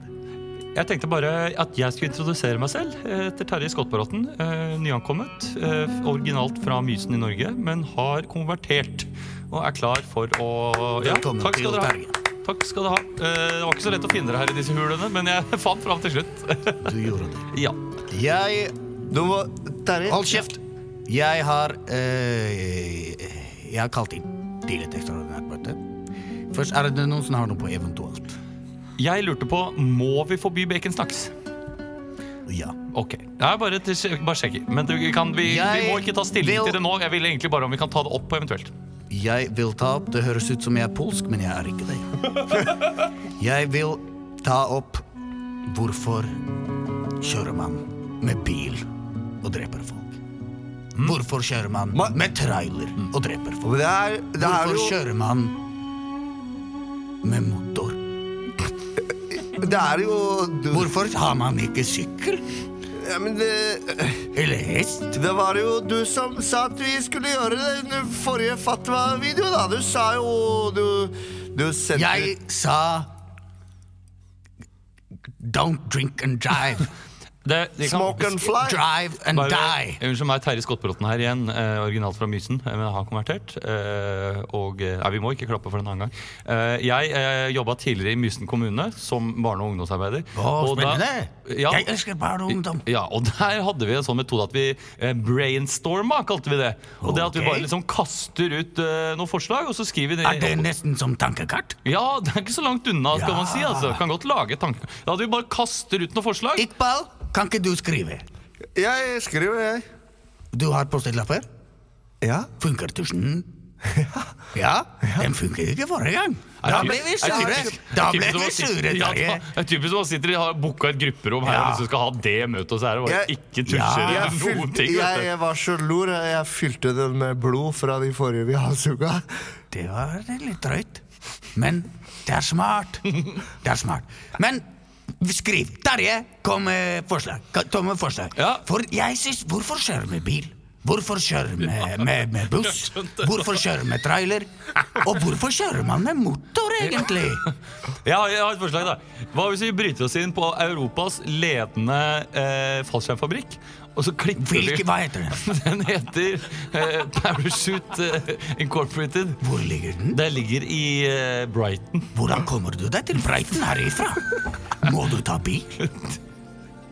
Speaker 2: Jeg tenkte bare at jeg skulle introdusere meg selv. Jeg heter Terje Skottbråten. eh, Nyankommet. eh, Originalt fra Mysen i Norge, men har konvertert. Og er klar for å Ja,
Speaker 4: Velkommen
Speaker 2: takk skal
Speaker 4: til
Speaker 2: dere ha.
Speaker 4: Terje.
Speaker 2: Takk skal dere ha. Eh, Det var ikke så lett å finne dere her i disse hulene, men jeg fant fram til slutt.
Speaker 4: Du gjorde det.
Speaker 2: Ja.
Speaker 4: Jeg
Speaker 5: Du må Terje.
Speaker 4: Hold kjeft! Jeg har eh, Jeg har kalt inn til et ekstraordinært møte. Først, er det noen som har noe på eventuelt?
Speaker 2: Jeg lurte på må vi forby baconsnacks.
Speaker 4: Ja.
Speaker 2: Ok. Nei, bare, til, sj- bare sjekke. Men du, kan vi, vi
Speaker 4: Jeg
Speaker 2: må ikke ta stilling
Speaker 4: vil-
Speaker 2: til det nå. Jeg ville egentlig bare om vi kan ta det opp på eventuelt.
Speaker 4: Jeg vil ta opp Det høres ut som jeg er polsk, men jeg er ikke det. jeg vil ta opp hvorfor kjører man med bil og dreper folk?
Speaker 1: Hm?
Speaker 4: Hvorfor kjører man med trailer og dreper folk?
Speaker 5: Det er, det er
Speaker 4: Hvorfor
Speaker 5: jo,
Speaker 4: kjører man med motor?
Speaker 5: det er jo du,
Speaker 4: Hvorfor har man ikke sykkel?
Speaker 5: ja, men det,
Speaker 4: Eller hest?
Speaker 5: Det var jo du som sa at vi skulle gjøre det i den forrige Fatwa-videoen, da. Du sa jo Du, du sendte
Speaker 4: Jeg sa Don't drink and drive.
Speaker 2: Det, vi kan-
Speaker 5: Smoke and fly.
Speaker 4: Drive and die.
Speaker 2: Bare, unnskyld meg, Terje Skottbråten her igjen. Eh, originalt fra Mysen, eh, men har konvertert. Eh, og eh, Nei, vi må ikke klappe for en annen gang. Eh, jeg eh, jobba tidligere i Mysen kommune som barne- og ungdomsarbeider.
Speaker 4: Å,
Speaker 2: Og da-
Speaker 4: spennende!
Speaker 2: Ja.
Speaker 4: Jeg elsker barn og ungdom.
Speaker 8: Eh,
Speaker 2: Ja, og der hadde vi en sånn metode at vi eh, brainstorma, kalte vi det. Og det at vi
Speaker 4: Ok.
Speaker 2: bare liksom kaster ut eh, noen forslag, og så skriver vi
Speaker 4: Er det nesten som tankekart?
Speaker 2: Ja, det er ikke så langt unna, skal
Speaker 4: Ja.
Speaker 2: man si. altså. Kan godt lage et tanke... Ja, at vi bare kaster ut noen forslag.
Speaker 4: Iqbal, kan ikke du skrive?
Speaker 5: Jeg skriver, jeg.
Speaker 4: Du har post-it-lapper.
Speaker 5: Ja?
Speaker 4: Funker tusjen? Ja, den funker ikke forrige gang. Da ble vi
Speaker 2: er
Speaker 4: sure.
Speaker 2: typisk-
Speaker 4: Da
Speaker 2: er typisk
Speaker 4: ble
Speaker 2: som å
Speaker 4: vi
Speaker 2: sitte-
Speaker 4: sure,
Speaker 2: Ja,
Speaker 4: Terje.
Speaker 2: da- det er typisk som å sitte og har booka et grupperom her og
Speaker 4: Ja.
Speaker 2: liksom skal ha det møtet, og så er det bare
Speaker 5: Jeg-
Speaker 2: ikke tusjer
Speaker 5: Jeg,
Speaker 2: eller noen
Speaker 5: fylte,
Speaker 2: ting.
Speaker 5: jeg,
Speaker 2: vet du.
Speaker 5: jeg var så lor. Jeg fylte det med blod fra de forrige vi halshugga.
Speaker 4: Det var litt drøyt. Men det er smart. Det er smart. Men skriv. Terje, kom med forslag. Ka- Kom med forslag.
Speaker 2: Ja.
Speaker 4: For jeg synes, Hvorfor kjøre med bil? Hvorfor kjøre med, med, med buss? Hvorfor kjøre med trailer? Og hvorfor kjører man med motor, egentlig?
Speaker 2: Ja, jeg har et forslag, da. Hva hvis vi bryter oss inn på Europas ledende eh, fallskjermfabrikk, og så klipper
Speaker 4: Hvilke,
Speaker 2: vi
Speaker 4: hva heter den?
Speaker 2: Den heter eh, Parachute eh, Incorporated.
Speaker 4: Hvor ligger den?
Speaker 2: Det ligger i eh, Brighton.
Speaker 4: Hvordan kommer du deg til Breiten herifra? Må du ta bil?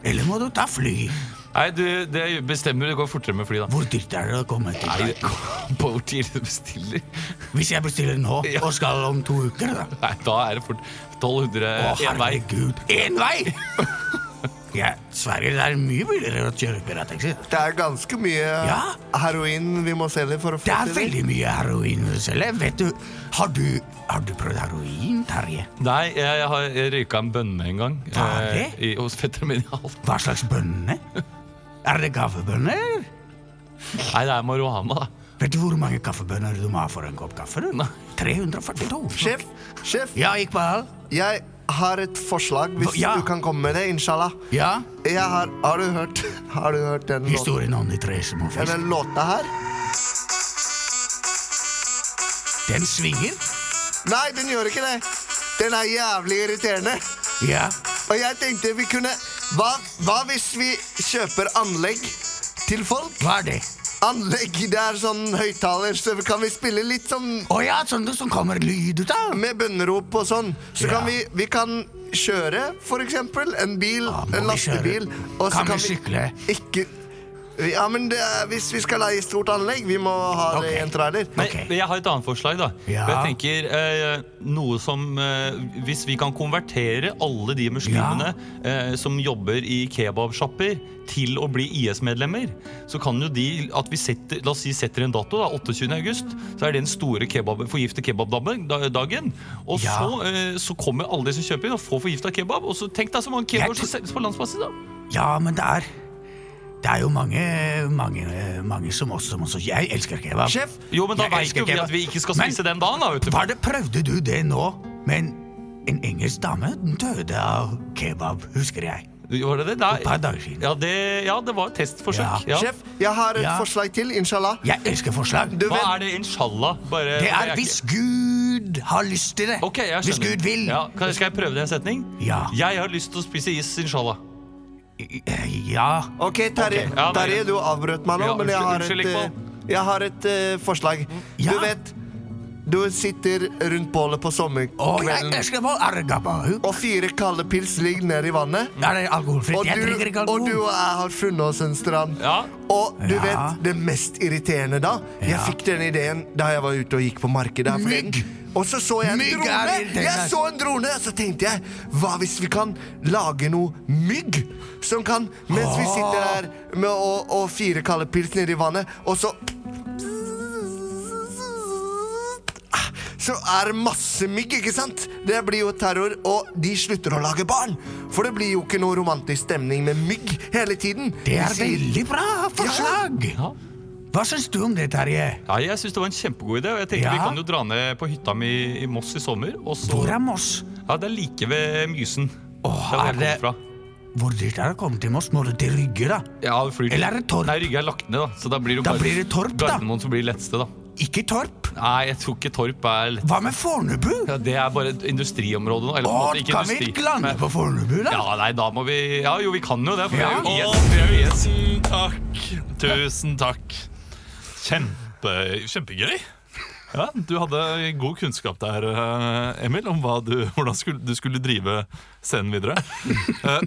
Speaker 4: Eller må du ta fly?
Speaker 2: Nei, du, det bestemmer. Det går fortere med fly, da.
Speaker 4: Hvor dyrt er det å komme til
Speaker 2: Nei,
Speaker 4: Breiten?
Speaker 2: det kommer på hvor tidlig du bestiller.
Speaker 4: Hvis jeg bestiller nå og skal om to uker, da?
Speaker 2: Nei, da er det fort 1200
Speaker 4: Å,
Speaker 2: én vei.
Speaker 4: herregud. Én vei! Ja, Sverige, det er mye billigere å kjøre pirattaxi.
Speaker 5: Det er ganske mye
Speaker 4: Ja.
Speaker 5: heroin vi må selge for å
Speaker 4: Det
Speaker 5: få
Speaker 4: er veldig mye heroin å selge. Vet du, har du, har du prøvd heroin, Terje?
Speaker 2: Nei, jeg, jeg har jeg røyka en bønne en gang. eh,
Speaker 4: Hva er det?
Speaker 2: i, hos fetteren min i Halden.
Speaker 4: Hva slags bønner? Er det kaffebønner?
Speaker 2: Nei, det er marihuana, da.
Speaker 4: Vet du hvor mange kaffebønner du må ha for en kopp kaffe? du? 342.
Speaker 5: Sjef, sjef,
Speaker 4: Ja, Iqbal?
Speaker 5: jeg har et forslag, hvis
Speaker 4: Ja.
Speaker 5: du kan komme med det. Inshallah.
Speaker 4: Ja?
Speaker 5: Jeg har, har du hørt Har du hørt den låten?
Speaker 4: Historien om de tre små fiskene.
Speaker 5: Den låta her?
Speaker 4: Den svinger?
Speaker 5: Nei, den gjør ikke det. Den er jævlig irriterende.
Speaker 4: Ja.
Speaker 5: Og jeg tenkte vi kunne Hva, hva hvis vi kjøper anlegg til folk?
Speaker 4: Hva er det?
Speaker 5: Anlegg, det er sånn høyttaler, så kan vi spille litt sånn
Speaker 4: Å ja, sånn det som kommer lyd ut av?
Speaker 5: med bønnerop og sånn. Så
Speaker 4: Ja.
Speaker 5: kan vi, vi kan kjøre, for eksempel. En bil,
Speaker 4: Ja, må vi
Speaker 5: en lastebil.
Speaker 4: kjøre?
Speaker 5: Og så
Speaker 4: Kan vi sykle?
Speaker 5: Ikke Ja, men det er, hvis vi skal leie stort anlegg, vi må ha det i
Speaker 4: Ok.
Speaker 5: en trailer.
Speaker 2: Men
Speaker 4: Ok.
Speaker 2: jeg har et annet forslag, da.
Speaker 4: Ja.
Speaker 2: For Jeg tenker eh, noe som eh, Hvis vi kan konvertere alle de muslimene eh, som jobber i kebabsjapper, til å bli IS-medlemmer, så kan jo de at vi setter, La oss si setter en dato, da, 28. august. Så er det den store kebab, forgifte kebabdagen. da- dagen. Og
Speaker 4: Ja.
Speaker 2: så, eh, så kommer alle de som kjøper inn, og får forgifta kebab. Og så tenk deg så mange kebaber
Speaker 4: Jeg
Speaker 2: som selges på landsbasis, da.
Speaker 4: Ja, men det er Det er jo mange, mange, mange som også som også- Jeg elsker kebab.
Speaker 5: Sjef,
Speaker 2: Jo, men da
Speaker 4: Jeg
Speaker 2: vet
Speaker 4: elsker
Speaker 2: jo vi
Speaker 4: kebab.
Speaker 2: at vi ikke skal
Speaker 4: Men-
Speaker 2: spise den dagen, da. vet du.
Speaker 4: Var det, prøvde du det nå? Men en engelsk dame døde av kebab, husker jeg.
Speaker 2: Var det det? Nei. Ja, det, ja, det var et testforsøk. Ja.
Speaker 5: Sjef, jeg har et
Speaker 8: Ja.
Speaker 5: forslag til, inshallah.
Speaker 8: Jeg elsker forslag.
Speaker 5: Du
Speaker 2: Hva
Speaker 5: vet,
Speaker 2: er det inshallah? Bare,
Speaker 8: Det
Speaker 2: jeg
Speaker 8: er
Speaker 2: ikke-
Speaker 8: hvis Gud har lyst til det.
Speaker 2: Ok, jeg skjønner.
Speaker 8: hvis Gud vil.
Speaker 2: Ja, kan, skal jeg prøve det i en setning?
Speaker 8: Ja.
Speaker 2: Jeg har lyst til å spise is, inshallah.
Speaker 8: Ja.
Speaker 5: Ok, Terje,
Speaker 2: Ok, ja, men-
Speaker 5: Terje, du avbrøt meg nå,
Speaker 2: Ja,
Speaker 5: men jeg
Speaker 2: unnskyld-
Speaker 5: har
Speaker 2: unnskyld,
Speaker 5: et,
Speaker 2: Iqbal.
Speaker 5: eh, jeg har et eh, forslag.
Speaker 8: Ja.
Speaker 5: Du vet, du sitter rundt bålet på
Speaker 8: Og jeg
Speaker 5: sommerkvelden
Speaker 8: elsker vår argabahuk.
Speaker 5: og fire kalde pils ligger nede i
Speaker 2: Mm.
Speaker 5: vannet.
Speaker 8: Er det alkoholfritt?
Speaker 5: Og
Speaker 8: Jeg drikker
Speaker 5: du,
Speaker 8: ikke
Speaker 5: og du
Speaker 8: alkohol.
Speaker 5: og jeg har funnet oss en strand.
Speaker 2: Ja.
Speaker 5: Og du
Speaker 8: Ja.
Speaker 5: vet det mest irriterende da? Jeg
Speaker 8: Ja.
Speaker 5: fikk denne ideen da jeg var ute og gikk på markedet. her forleden.
Speaker 8: Mygg!
Speaker 5: Og så så jeg en
Speaker 8: Mygg er
Speaker 5: drone!
Speaker 8: irriterende.
Speaker 5: Jeg så en drone, og så tenkte jeg Hva hvis vi kan lage noe mygg? Som kan, mens vi sitter der med å, og fire kalde pils nedi vannet, og så Ah, så er det masse mygg, ikke sant? Det blir jo terror, og de slutter å lage barn. For det blir jo ikke noe romantisk stemning med mygg hele tiden.
Speaker 8: Det
Speaker 5: De
Speaker 8: er
Speaker 5: sier-
Speaker 8: veldig bra forslag.
Speaker 2: Ja.
Speaker 8: Hva syns du om det, Terje?
Speaker 2: Ja, jeg syns det var en kjempegod idé. Og jeg tenker
Speaker 8: Ja.
Speaker 2: Vi kan jo dra ned på hytta mi i Moss i sommer. Og så,
Speaker 8: Hvor er Moss?
Speaker 2: Ja, Det er like ved Mysen.
Speaker 8: Åh,
Speaker 2: der hvor
Speaker 8: er
Speaker 2: jeg
Speaker 8: det-
Speaker 2: kommer fra.
Speaker 8: Hvor dyrt er det å komme til Moss? Må du til Rygge, da?
Speaker 2: Ja, vi flyr til-
Speaker 8: Eller er det Torp?
Speaker 2: Nei, Rygge er lagt ned, da. Så da blir det, jo
Speaker 8: Da
Speaker 2: Gar-
Speaker 8: blir det Torp, da.
Speaker 2: Gardermoen som blir letteste, da.
Speaker 8: Ikke Torp?
Speaker 2: Nei, jeg tror ikke Torp er lett.
Speaker 8: Hva med Fornebu?
Speaker 2: Ja, det er bare et industriområde nå. Eller, på en
Speaker 8: Å,
Speaker 2: måte ikke
Speaker 8: kan vi
Speaker 2: industri,
Speaker 8: ikke lande
Speaker 2: men-
Speaker 8: på Fornebu, da?
Speaker 2: Ja, nei, da må vi Ja, jo, vi kan jo det. For
Speaker 8: Ja.
Speaker 2: det er jo
Speaker 1: Og
Speaker 2: IS. Det er jo IS.
Speaker 1: tusen takk. Tusen takk. Kjempe, kjempegøy. Ja, du hadde god kunnskap der, eh, Emil, om hva du, hvordan skulle, du skulle drive scenen videre. Eh,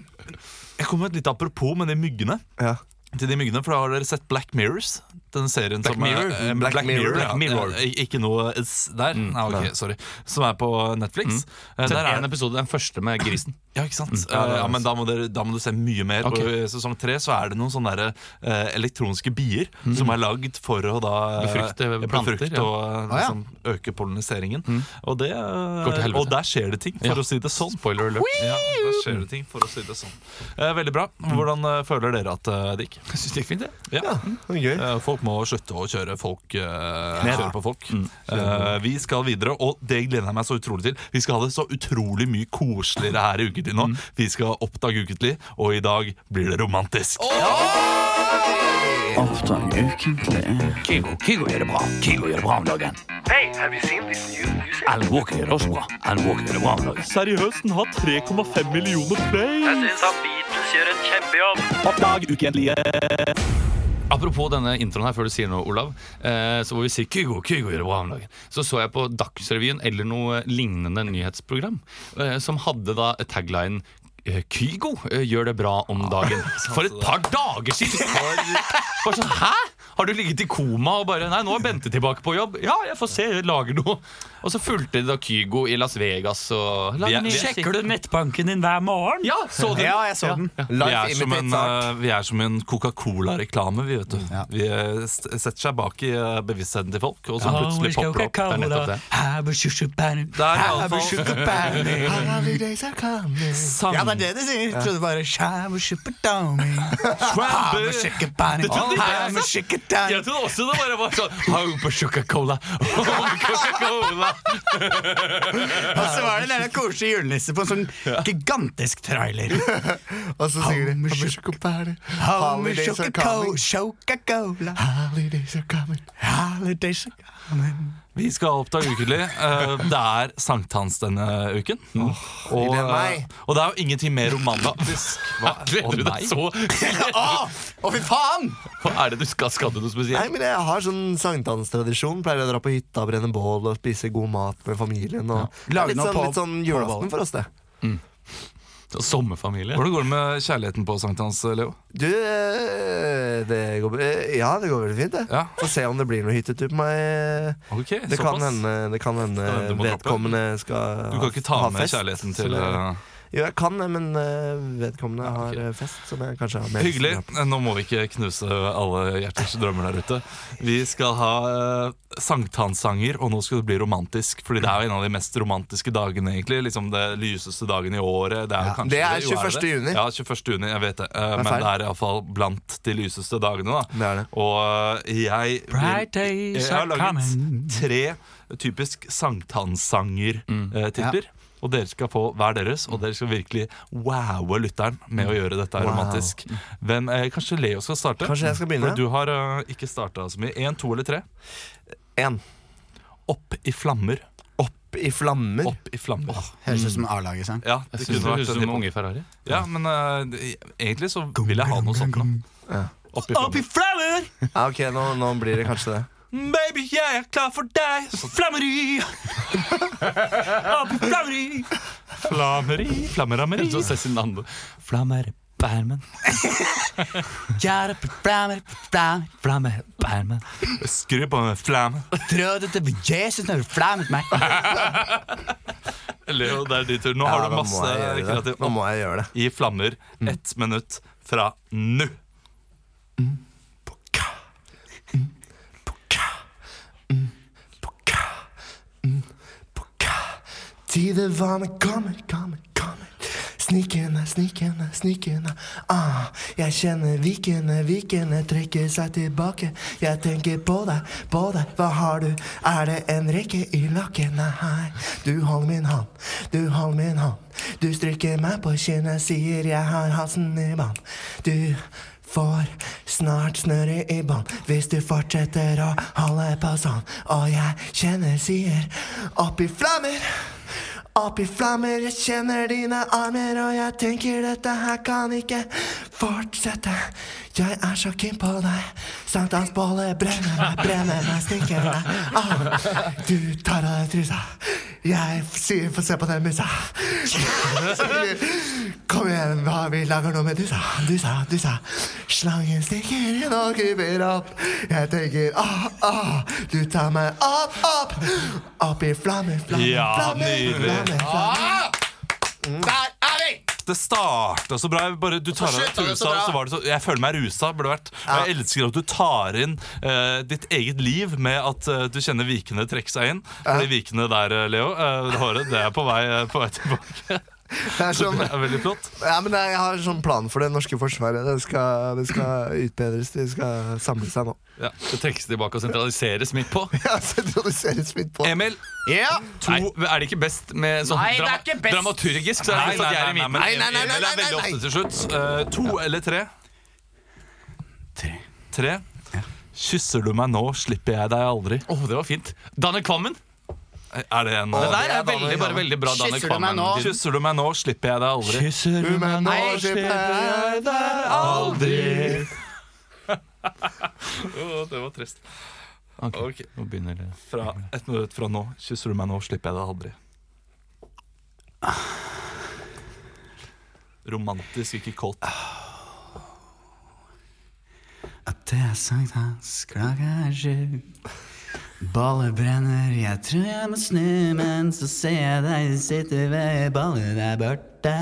Speaker 1: Jeg kom med et lite apropos med de myggene.
Speaker 12: Ja.
Speaker 1: Til de myggene, for da Har dere sett Black Mirrors? Den serien som
Speaker 2: Mirror?
Speaker 1: eh,
Speaker 2: Black
Speaker 1: Black, Mirror,
Speaker 2: Mirror,
Speaker 1: ja.
Speaker 2: Black Mirror.
Speaker 1: Eh, Ikke noe S der? Nei, ok, sorry. Som er på Netflix. Eh,
Speaker 2: Sett
Speaker 1: Der er
Speaker 2: en episode, den første med grisen.
Speaker 1: ja, ikke sant?
Speaker 2: Mm.
Speaker 1: Eh, ja, men da må, dere, da må du se mye mer.
Speaker 2: Ok.
Speaker 1: Og I sesong tre så er det noen sånne der, eh, elektroniske bier som er lagd for å da eh,
Speaker 2: Mm. Befrukte planter,
Speaker 1: befrukte
Speaker 2: ja. Mm.
Speaker 1: og eh, liksom, øke polliniseringen. Og, det, eh,
Speaker 2: Går til helvete.
Speaker 1: og der skjer det ting, for
Speaker 2: Ja.
Speaker 1: å si det sånn.
Speaker 2: Spoiler alert.
Speaker 1: Ja, der skjer det ting, for å si det sånn. Eh, veldig bra. Hvordan eh, føler dere at eh, det gikk?
Speaker 2: Mm. Jeg Mm. syns det gikk fint, det.
Speaker 1: Ja.
Speaker 12: Gøy.
Speaker 1: Eh, Folk må slutte å kjøre folk eh, Kjøre på folk
Speaker 2: Mm.
Speaker 1: Eh, Vi skal videre, og det gleder jeg meg så utrolig til Vi skal ha det så utrolig mye koseligere her i uketid nå
Speaker 2: Mm.
Speaker 1: Vi skal oppdage uketlig, og i dag blir det romantisk Seriøst, den har 3,5 millioner play
Speaker 2: Apropos denne introen her, før du sier noe, Olav. Eh, så hvor vi sier Kygo, Kygo gjør det bra om dagen. Så så jeg på Dagsrevyen eller noe lignende nyhetsprogram eh, som hadde da tagline eh, Kygo eh, gjør det bra om dagen. For et par dager siden! Bare sånn, Hæ? Har du ligget i koma og bare Nei, nå er Bente tilbake på jobb. Ja, jeg får se, jeg lager noe. Og så fulgte de da Kygo i Las Vegas og
Speaker 1: Vi er- vi-
Speaker 2: Sjekker
Speaker 13: nettbanken din hver morgen?
Speaker 2: Ja, så du?
Speaker 8: Ja, jeg så den.
Speaker 1: vi er, som en,
Speaker 12: imitate art.
Speaker 1: eh, vi er som en Coca-Cola-reklame, vi vet du Vi eh, s- setter seg bak i eh, bevisstheten til folk Og så plutselig popper det opp
Speaker 2: Det er nettopp det.
Speaker 1: Det er i alle fall
Speaker 5: Holidays are coming.
Speaker 8: sånn. Ja, det er det de sier. Jeg trodde bare Shabba shubba downy. Habba shubba bunny.
Speaker 2: trodde jeg.
Speaker 8: Habba shubba downy.
Speaker 2: Jeg trodde også det bare var sånn Hau på Coca-Cola! Coca-Cola
Speaker 8: Og så var det en jævla koselig julenisse på en sånn gigantisk trailer.
Speaker 5: Og så sier de
Speaker 8: How much
Speaker 5: "How much you got it?
Speaker 8: Homie
Speaker 5: Holidays are coming.
Speaker 8: Coca-Cola.
Speaker 5: Holidays are coming.
Speaker 8: Holidays are coming.
Speaker 1: Vi skal oppdage ukentlig. Eh, Det er sankthans denne uken. og,
Speaker 5: gleder meg.
Speaker 1: eh, og det er jo ingenting mer romantisk. Hva- Å,
Speaker 2: Gleder du
Speaker 1: nei.
Speaker 2: deg så?
Speaker 8: Å, fy faen!
Speaker 2: Hva er det du skal? Skal du noe
Speaker 5: Nei,
Speaker 2: spesielt?
Speaker 5: men jeg har sånn sankthanstradisjon. Pleier å dra på hytta, brenne bål og spise god mat med familien. Og Det er
Speaker 8: Lage
Speaker 5: litt,
Speaker 8: noe
Speaker 5: sånn,
Speaker 8: på-
Speaker 5: litt sånn
Speaker 8: på
Speaker 5: julaften
Speaker 8: bålet.
Speaker 5: for oss, det.
Speaker 2: Sommerfamilie?
Speaker 1: Hvordan går det med kjærligheten på sankthans, Leo?
Speaker 5: Du, eh, det går, eh, ja, det går veldig fint, det.
Speaker 1: Ja.
Speaker 5: Få se om det blir noe hyttetur på meg.
Speaker 1: Ok,
Speaker 5: Det
Speaker 1: såpass.
Speaker 5: kan, hende, det kan hende
Speaker 1: Skal hende du må droppe?
Speaker 5: vedkommende skal
Speaker 1: Du kan ikke ta
Speaker 5: ha
Speaker 1: med
Speaker 5: fest,
Speaker 1: kjærligheten
Speaker 5: så
Speaker 1: til
Speaker 5: det-
Speaker 1: eh,
Speaker 5: Jo, jeg kan det, men eh, vedkommende har eh, fest, som jeg kanskje har med.
Speaker 1: Hyggelig. Nå må vi ikke knuse alle hjerters drømmer der ute. Vi skal ha eh, sankthanssanger, og nå skal det bli romantisk. Fordi det er jo en av de mest romantiske dagene, egentlig. Liksom Det lyseste dagen i året. Det er, jo kanskje
Speaker 5: det er
Speaker 1: jo
Speaker 5: 21. juni.
Speaker 1: Ja, 21. juni, jeg vet det. Eh, men
Speaker 5: feil.
Speaker 1: det er iallfall blant de lyseste dagene, da.
Speaker 5: Det er det.
Speaker 1: Og eh, jeg
Speaker 13: Bright days
Speaker 1: Eh, Jeg har
Speaker 13: are
Speaker 1: laget
Speaker 13: coming.
Speaker 1: tre typisk sankthanssanger-titler. eh, Og dere skal få hver deres, og dere skal virkelig wowe lytteren med å gjøre dette her romantisk. Hvem, eh, kanskje Leo skal starte?
Speaker 5: Kanskje jeg skal begynne?
Speaker 1: For du har eh, ikke starta så mye. Én, to eller tre?
Speaker 5: En.
Speaker 1: Opp i flammer.
Speaker 5: Opp i flammer.
Speaker 1: Opp i flammer.
Speaker 4: Høres ut som en A-lagesang.
Speaker 1: Ja, det kunne
Speaker 2: Jeg synes
Speaker 1: vært
Speaker 2: det høres
Speaker 1: en
Speaker 2: ut som
Speaker 1: hiphop.
Speaker 2: unge i Ferrari.
Speaker 1: Ja, men eh, det- egentlig så vil jeg ha noe sånt. nå. Opp i flammer.
Speaker 6: flammer!
Speaker 5: Ja, ok, nå, nå blir det kanskje det.
Speaker 1: Baby, jeg er klar for deg. Flammeri! Opp i flammeri! Flammeri, flammerammeri.
Speaker 2: Så ses i den andre.
Speaker 1: Flammerbærmen.
Speaker 4: Kjære flammer, flammer,
Speaker 1: Flammebærmen. Skru på med flamme.
Speaker 4: trodde det var Jesus når du flammet meg.
Speaker 1: Leo, det er din tur. Nå har
Speaker 5: Ja,
Speaker 1: du
Speaker 5: nå må
Speaker 1: masse
Speaker 5: jeg gjøre det.
Speaker 1: kreativt.
Speaker 5: Nå må jeg gjøre det.
Speaker 1: I flammer. Ett minutt fra nå.
Speaker 5: Mm. Tide var med kommer, kommer, kommer. Snikende, snikende, snikende. Ah, jeg kjenner vikene, vikene trekker seg tilbake. Jeg tenker på deg, på deg, hva har du? Er det en rekke i lakken? Nei, du holder min hånd, du holder min hånd. Du stryker meg på kinnet, sier jeg har halsen i vann. Du får snart snøre i bånd hvis du fortsetter å holde på sånn. Og jeg kjenner, sier, opp i flammer. Opp i flammer, jeg kjenner dine armer, og jeg tenker dette her kan ikke fortsette. Jeg er så keen på deg. Sankthansbålet brenner meg, brenner meg, stikker meg. Ah, du tar av deg trusa. Jeg sier få se på den musa. Kom igjen, hva vi lager nå med dusa, dusa, dusa. Slangen stikker inn og kryper opp. Jeg tenker ah, ah, du tar meg opp, opp. Opp i flammer, flammer,
Speaker 1: Ja,
Speaker 5: flammer.
Speaker 1: nydelig.
Speaker 5: flammer, flammer.
Speaker 3: Ah! Der er vi!
Speaker 1: Det starta så bra. Jeg Bare, du tar av deg
Speaker 3: slutter det så
Speaker 1: trusa, og
Speaker 3: bra.
Speaker 1: så var det så Jeg føler meg rusa, burde det vært. Og jeg elsker at du tar inn eh, ditt eget liv med at eh, du kjenner vikene trekke seg inn. Fordi vikene der, eh, Leo, eh, det håret, det er på vei, eh, på vei tilbake.
Speaker 5: Det er
Speaker 1: Så
Speaker 5: sånn,
Speaker 1: det er veldig flott.
Speaker 5: ja, men jeg har en sånn plan for det norske forsvaret. Det skal, det skal utbedres. De skal samle seg nå.
Speaker 2: Ja, det trekkes tilbake og sentraliseres midt på.
Speaker 5: Ja, sentraliseres midt på.
Speaker 2: Emil, to, er det ikke best med sånn
Speaker 3: Nei, det er ikke best.
Speaker 2: dramaturgisk? Så er det best at jeg er i midten.
Speaker 1: men
Speaker 3: Nei, nei, nei,
Speaker 1: Emil
Speaker 3: nei,
Speaker 1: er
Speaker 3: nei,
Speaker 1: veldig
Speaker 3: nei.
Speaker 1: ofte til slutt. Eh, to eller tre?
Speaker 4: Tre.
Speaker 1: Tre. Kysser du meg nå, slipper jeg deg aldri.
Speaker 2: Åh, det var fint. Daniel Kvammen.
Speaker 1: Er det en
Speaker 2: Det
Speaker 1: eh,
Speaker 2: der er veldig, bare veldig bra. Daniel
Speaker 4: Kysser du meg
Speaker 2: Kvammen.
Speaker 4: nå?
Speaker 1: Kysser du meg nå, slipper jeg deg aldri.
Speaker 2: Kysser du meg nå?
Speaker 4: Nei,
Speaker 5: jeg deg
Speaker 1: aldri. det var trist.
Speaker 2: Ok, nå begynner det.
Speaker 1: Fra ett minutt fra nå kysser du meg nå, slipper jeg deg aldri. Ah. Romantisk, ikke kåt.
Speaker 4: At det er sankthans, klokka er sju. Ballet brenner, jeg tror jeg må snu, men så ser jeg deg sitte ved ballet der borte.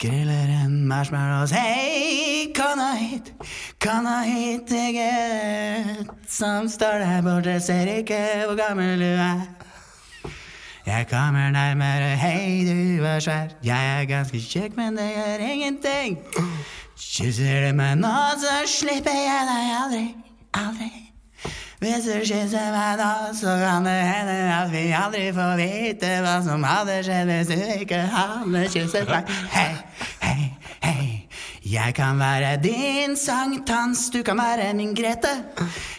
Speaker 4: Griller en marshmallows, hei, kona hit, kona hit, jeg gutt som står der borte, ser ikke hvor gammel du er. Jeg kommer nærmere, hei, du var svær, jeg er ganske kjekk, men det gjør ingenting. Kysser du meg nå, så slipper jeg deg aldri, aldri. Hvis du kysser meg nå, så kan det hende at vi aldri får vite hva som hadde skjedd hvis du ikke hadde kysset meg. Hei, hei, hei. Jeg kan være din sankthans, du kan være min Grete.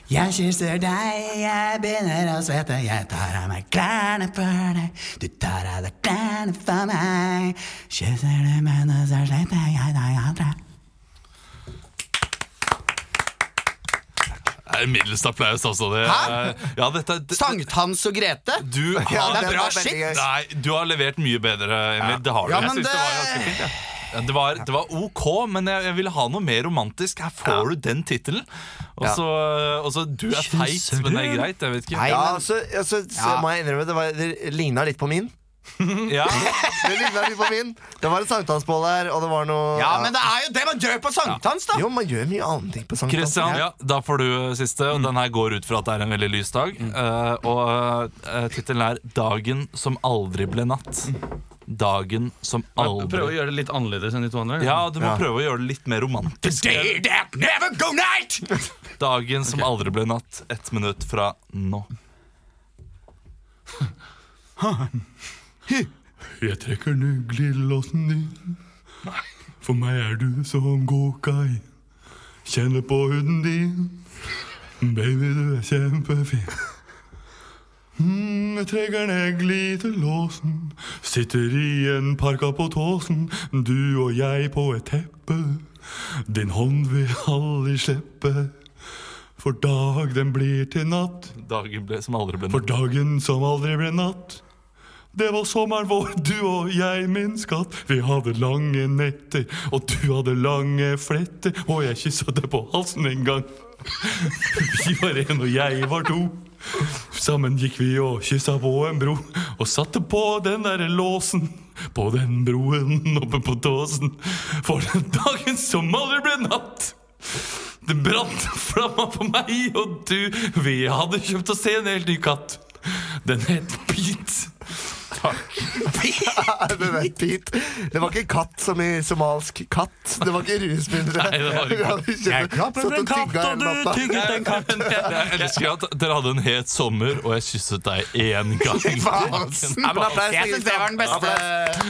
Speaker 4: Jeg kysser deg, jeg begynner å svette. Jeg tar av meg klærne for deg, du tar av deg klærne for meg. Kysser du meg nå, så slipper jeg deg aldri.
Speaker 1: Det er middels applaus, altså. Det,
Speaker 4: Hæ?
Speaker 1: Ja, dette, det,
Speaker 4: Sankthans og Grete?
Speaker 1: du har,
Speaker 5: Ja,
Speaker 4: det er bra
Speaker 5: veldig
Speaker 4: shit.
Speaker 5: gøy.
Speaker 1: Nei, du har levert mye bedre, Emil. Det har du.
Speaker 4: Ja,
Speaker 1: jeg
Speaker 4: men
Speaker 1: synes det... var
Speaker 4: det-
Speaker 1: ganske fint. jeg. Ja. Det, var, det var OK, men jeg, jeg ville ha noe mer romantisk. Her får du den tittelen. Og så og så, Du er feit,
Speaker 4: Kysser
Speaker 1: men det er
Speaker 4: du?
Speaker 1: greit. Jeg vet ikke.
Speaker 4: Nei,
Speaker 5: Ja,
Speaker 4: men
Speaker 5: altså, altså så
Speaker 4: Ja.
Speaker 5: må jeg innrømme, det, var- det ligna litt på min.
Speaker 1: Ja.
Speaker 5: Det lignet litt på min Det var et sankthansbål her, og det var noe
Speaker 4: Ja, men det er jo det man gjør på sankthans, da!
Speaker 5: Jo, man gjør mye annet ting på sankthans.
Speaker 1: Kristian, ja, da får du eh, siste. Og den her går ut fra at det er en veldig lys dag. Eh, og uh, tittelen er 'Dagen som aldri ble natt'. Dagen som
Speaker 2: Prøv å
Speaker 1: aldri
Speaker 2: gjøre det litt annerledes enn de to andre.
Speaker 1: Ja, du må prøve å gjøre det litt mer romantisk.
Speaker 4: that never go night!
Speaker 1: Dagen som aldri ble natt. Ett minutt fra nå.
Speaker 5: Jeg trekker nuglelåsen din. For meg er du som gokai. Kjenner på huden din. Baby, du er kjempefin. Mm, jeg trekker ned glidelåsen. Sitter i en parka på tåsen. Du og jeg på et teppe. Din hånd vil aldri slippe. For dag den blir til natt.
Speaker 14: Dagen ble, som aldri ble
Speaker 5: For dagen som aldri ble natt. Det var sommeren vår, du og jeg, min skatt. Vi hadde lange netter, og du hadde lange fletter. Og jeg kyssa deg på halsen en gang. Vi var én, og jeg var to. Sammen gikk vi og kyssa på en bro, og satte på den derre låsen. På den broen oppe på tåsen. For den dagen som aldri ble natt. Det brant flamma på meg og du. Vi hadde kjøpt oss en helt ny katt. Den het Pete.
Speaker 3: Du vet, Pete. Det var ikke katt som i somalsk katt. Det var ikke rusmidler.
Speaker 14: Nei, det var ikke-
Speaker 3: Jeg klappet en katt, og du tygget en katt.
Speaker 14: Jeg elsker at dere hadde en het sommer, og jeg kysset deg én gang.
Speaker 4: Nei, men applaus, jeg syns det var den beste.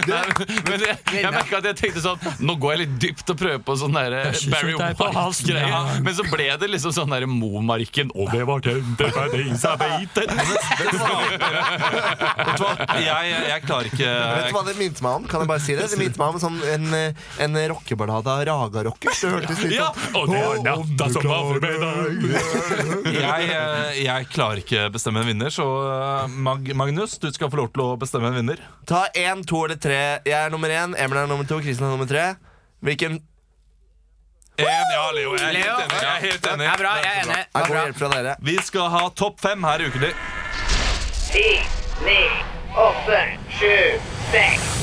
Speaker 14: Nei, men jeg, jeg merket at jeg tenkte sånn Nå går jeg litt dypt og prøver på sånn der
Speaker 2: eh,
Speaker 5: kysset
Speaker 14: Barry
Speaker 5: deg på halsen,
Speaker 14: White-greia.
Speaker 5: ja.
Speaker 14: Men så ble det liksom sånn der Momarken. Og det var tømte for disse beiter.
Speaker 1: Vet du hva? Jeg, jeg klarer ikke
Speaker 3: Vet du hva det minte meg om? Kan jeg bare si det? Det minte meg om sånn en, en rockeballade av Raga Rockers. Det hørtes litt
Speaker 14: Ja,
Speaker 3: sånn
Speaker 14: og det var natta som var forbi deg.
Speaker 1: jeg, eh, jeg klarer ikke bestemme en vinner, så eh, Mag Magnus, du skal få lov til å bestemme en vinner.
Speaker 3: sånn- Ta én, to eller tre. Jeg er nummer én, Emil er nummer to, Kristin er nummer tre. Hvilken
Speaker 1: En, ja, Leo. Jeg er
Speaker 4: Leo.
Speaker 1: helt enig. Jeg er helt enig.
Speaker 4: Det er bra, jeg er enig. Det
Speaker 3: er
Speaker 4: var
Speaker 3: god
Speaker 4: bra.
Speaker 3: hjelp fra dere?
Speaker 1: Vi skal ha Topp fem her i Ukelig.
Speaker 15: Ti, ni, åtte, sju, seks.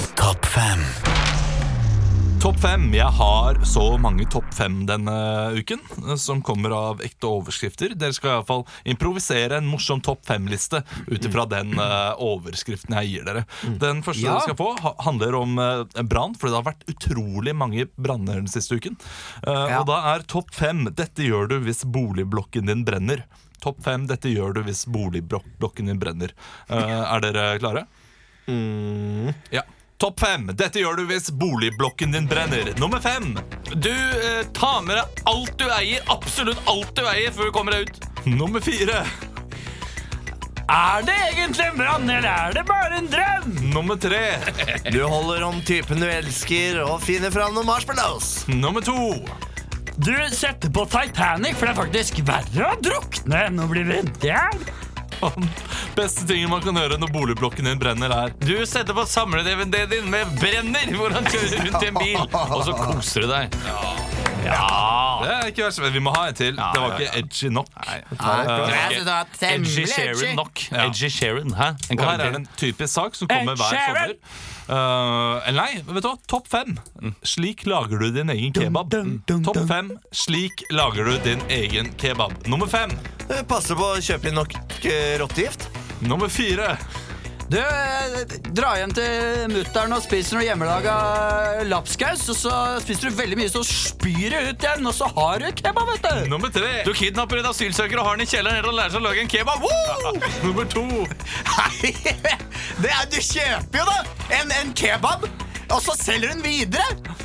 Speaker 1: Topp fem. Jeg har så mange topp fem denne uken, eh, som kommer av ekte overskrifter. Dere skal iallfall improvisere en morsom topp fem-liste ut ifra den eh, overskriften jeg gir dere. Den første dere skal få, ha- handler om eh, en brann, for det har vært utrolig mange branner den siste uken. Eh, Og da er topp fem 'Dette gjør du hvis boligblokken din brenner'. Topp fem 'Dette gjør du hvis boligblokken din brenner'. Eh, Er dere klare? Ja. Topp fem. Dette gjør du hvis boligblokken din brenner. Nummer fem. Du eh, tar med deg alt du eier, absolutt alt du eier, før du kommer deg ut. Nummer fire.
Speaker 5: Er det egentlig en brann, eller er det bare en drøm?
Speaker 1: Nummer tre.
Speaker 3: Du holder om typen du elsker, og finner fram noen marshmallows.
Speaker 1: Nummer to.
Speaker 5: Du setter på Titanic, for det er faktisk verre å drukne enn å bli brent i hjel.
Speaker 1: Beste tingen man kan gjøre når boligblokken din brenner, er Du setter på samle-DVD-en din med 'Brenner', hvor han kjører rundt i en bil, og så koser du deg. Ja. Det er ikke verst. Vi må ha en til. Det var ikke edgy nok. Eh,
Speaker 4: Jeg synes det var
Speaker 1: Edgy
Speaker 4: temmelig
Speaker 1: Sharon
Speaker 4: edgy.
Speaker 1: nok. Edgy Sharon, hæ? Og her er det en typisk sak som kommer
Speaker 5: Ed
Speaker 1: hver
Speaker 5: Sheeran!
Speaker 1: sommer. Eh, eller nei, vet du hva? Topp fem. Slik lager du din egen kebab. Topp fem. Slik lager du din egen kebab. Nummer fem.
Speaker 3: Passe på å kjøpe inn nok eh, rottegift.
Speaker 1: Nummer fire.
Speaker 4: Du, eh, dra hjem til mutter'n og spiser noe hjemmelaga eh, lapskaus, og så spiser du veldig mye, så spyr du ut igjen, og så har du kebab, vet du.
Speaker 1: Nummer tre. Du kidnapper en asylsøker og har den i kjelleren helt til han lærer seg å lage en kebab. Woo! Nummer to.
Speaker 4: Nei, det er, du kjøper jo da en, en kebab, og så selger du den videre.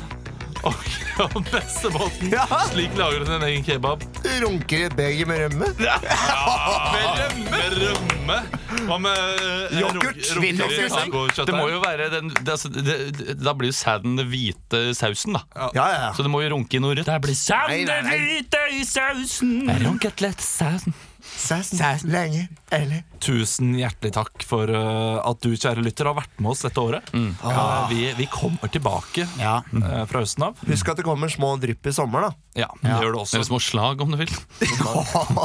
Speaker 1: Og og beste måten.
Speaker 4: Ja.
Speaker 1: Slik lager du din egen kebab.
Speaker 3: Runker i et beger med rømme.
Speaker 1: Med rømme. Med rømme. Hva med eh,
Speaker 3: Yoghurt.
Speaker 1: runk- runker i
Speaker 3: Vindrunkeseng.
Speaker 1: taco og kjøttdeig?
Speaker 2: Det må jo være den det, altså, det, det, Da blir jo sæden den hvite sausen, da.
Speaker 3: Ja, ja, ja.
Speaker 2: Så det må jo runke i noe rødt.
Speaker 5: Der blir
Speaker 3: Nei, nei,
Speaker 5: sandet
Speaker 3: nei.
Speaker 5: hvite i sausen.
Speaker 2: Runket lett sausen.
Speaker 3: Sassen. Lenge. Eller.
Speaker 1: Tusen hjertelig takk for eh, at du, kjære lytter, har vært med oss dette året. Eh, vi, vi kommer tilbake eh, fra høsten av.
Speaker 3: Husk at det kommer små drypp i sommer, da.
Speaker 1: Ja, Det gjør det også.
Speaker 2: Eller små slag, om du vil.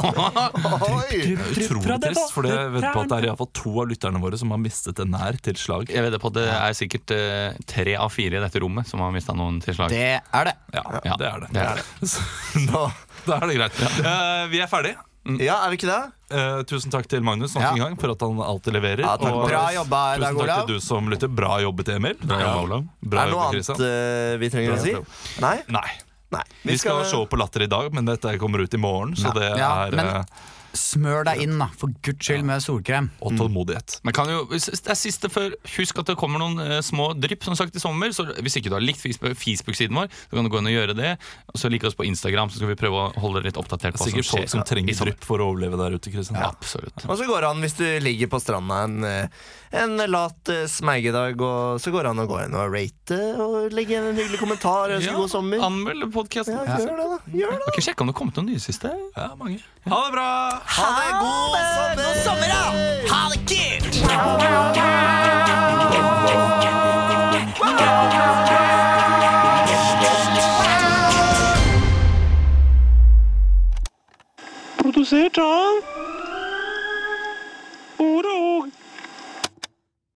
Speaker 3: Oi!
Speaker 1: Utrolig trist, for jeg vet på at det er i hvert fall to av lytterne våre som har mistet en nær til slag.
Speaker 2: Jeg vedder på at det er sikkert eh, tre av fire i dette rommet som har mista noen til slag.
Speaker 4: Det er det.
Speaker 1: Ja,
Speaker 2: Ja.
Speaker 1: det er det.
Speaker 2: Det er det.
Speaker 1: Så, da, da er det greit. Eh, vi er ferdige.
Speaker 4: Mm.
Speaker 3: Ja, er vi ikke det?
Speaker 1: Eh, tusen takk til Magnus nok
Speaker 4: Ja.
Speaker 1: en gang for at han alltid leverer.
Speaker 3: Ja, takk,
Speaker 1: og
Speaker 3: Magnus. Bra
Speaker 4: jobba,
Speaker 1: tusen
Speaker 4: Dag
Speaker 1: takk
Speaker 4: Olav.
Speaker 1: til du som lytter. Bra jobbet, Emil. Bra
Speaker 2: jobba,
Speaker 1: Olav.
Speaker 3: er det noe annet eh, vi trenger å si? Nei?
Speaker 1: Nei.
Speaker 3: Nei.
Speaker 1: Vi skal se på Latter i dag, men dette kommer ut i morgen. Så det
Speaker 4: Ja,
Speaker 1: er
Speaker 4: men-
Speaker 1: eh,
Speaker 4: smør deg inn, da, for guds skyld, med solkrem.
Speaker 2: og tålmodighet. Men kan jo, hvis- det er siste før, Husk at det kommer noen eh, små drypp som sagt i sommer. Så Hvis ikke du har likt Facebook- Facebook-siden vår, så kan du gå inn og gjøre det. Og så like oss på Instagram, så skal vi prøve å holde dere litt oppdatert. på
Speaker 1: Det
Speaker 2: hva
Speaker 1: er sikkert
Speaker 2: som skjer
Speaker 1: folk som
Speaker 2: i
Speaker 1: trenger
Speaker 2: sommer.
Speaker 1: drypp for å overleve der ute. Kristian
Speaker 2: Ja, absolutt.
Speaker 3: Og så går det an, hvis du ligger på stranda en, eh, en lat eh, smeigedag, og så går det an å gå inn og rate og legge igjen en hyggelig kommentar. Ønske
Speaker 2: Ja,
Speaker 3: god sommer.
Speaker 2: Anmeld podkasten.
Speaker 3: Ja, gjør det, da. Gjør det.
Speaker 2: Har ikke sjekka om det har kommet noen nye siste. Ja, mange.
Speaker 1: Ha det bra!
Speaker 3: Ha det! God sommer! God sommer da!
Speaker 4: Ha det kult!
Speaker 16: Produsert av Ord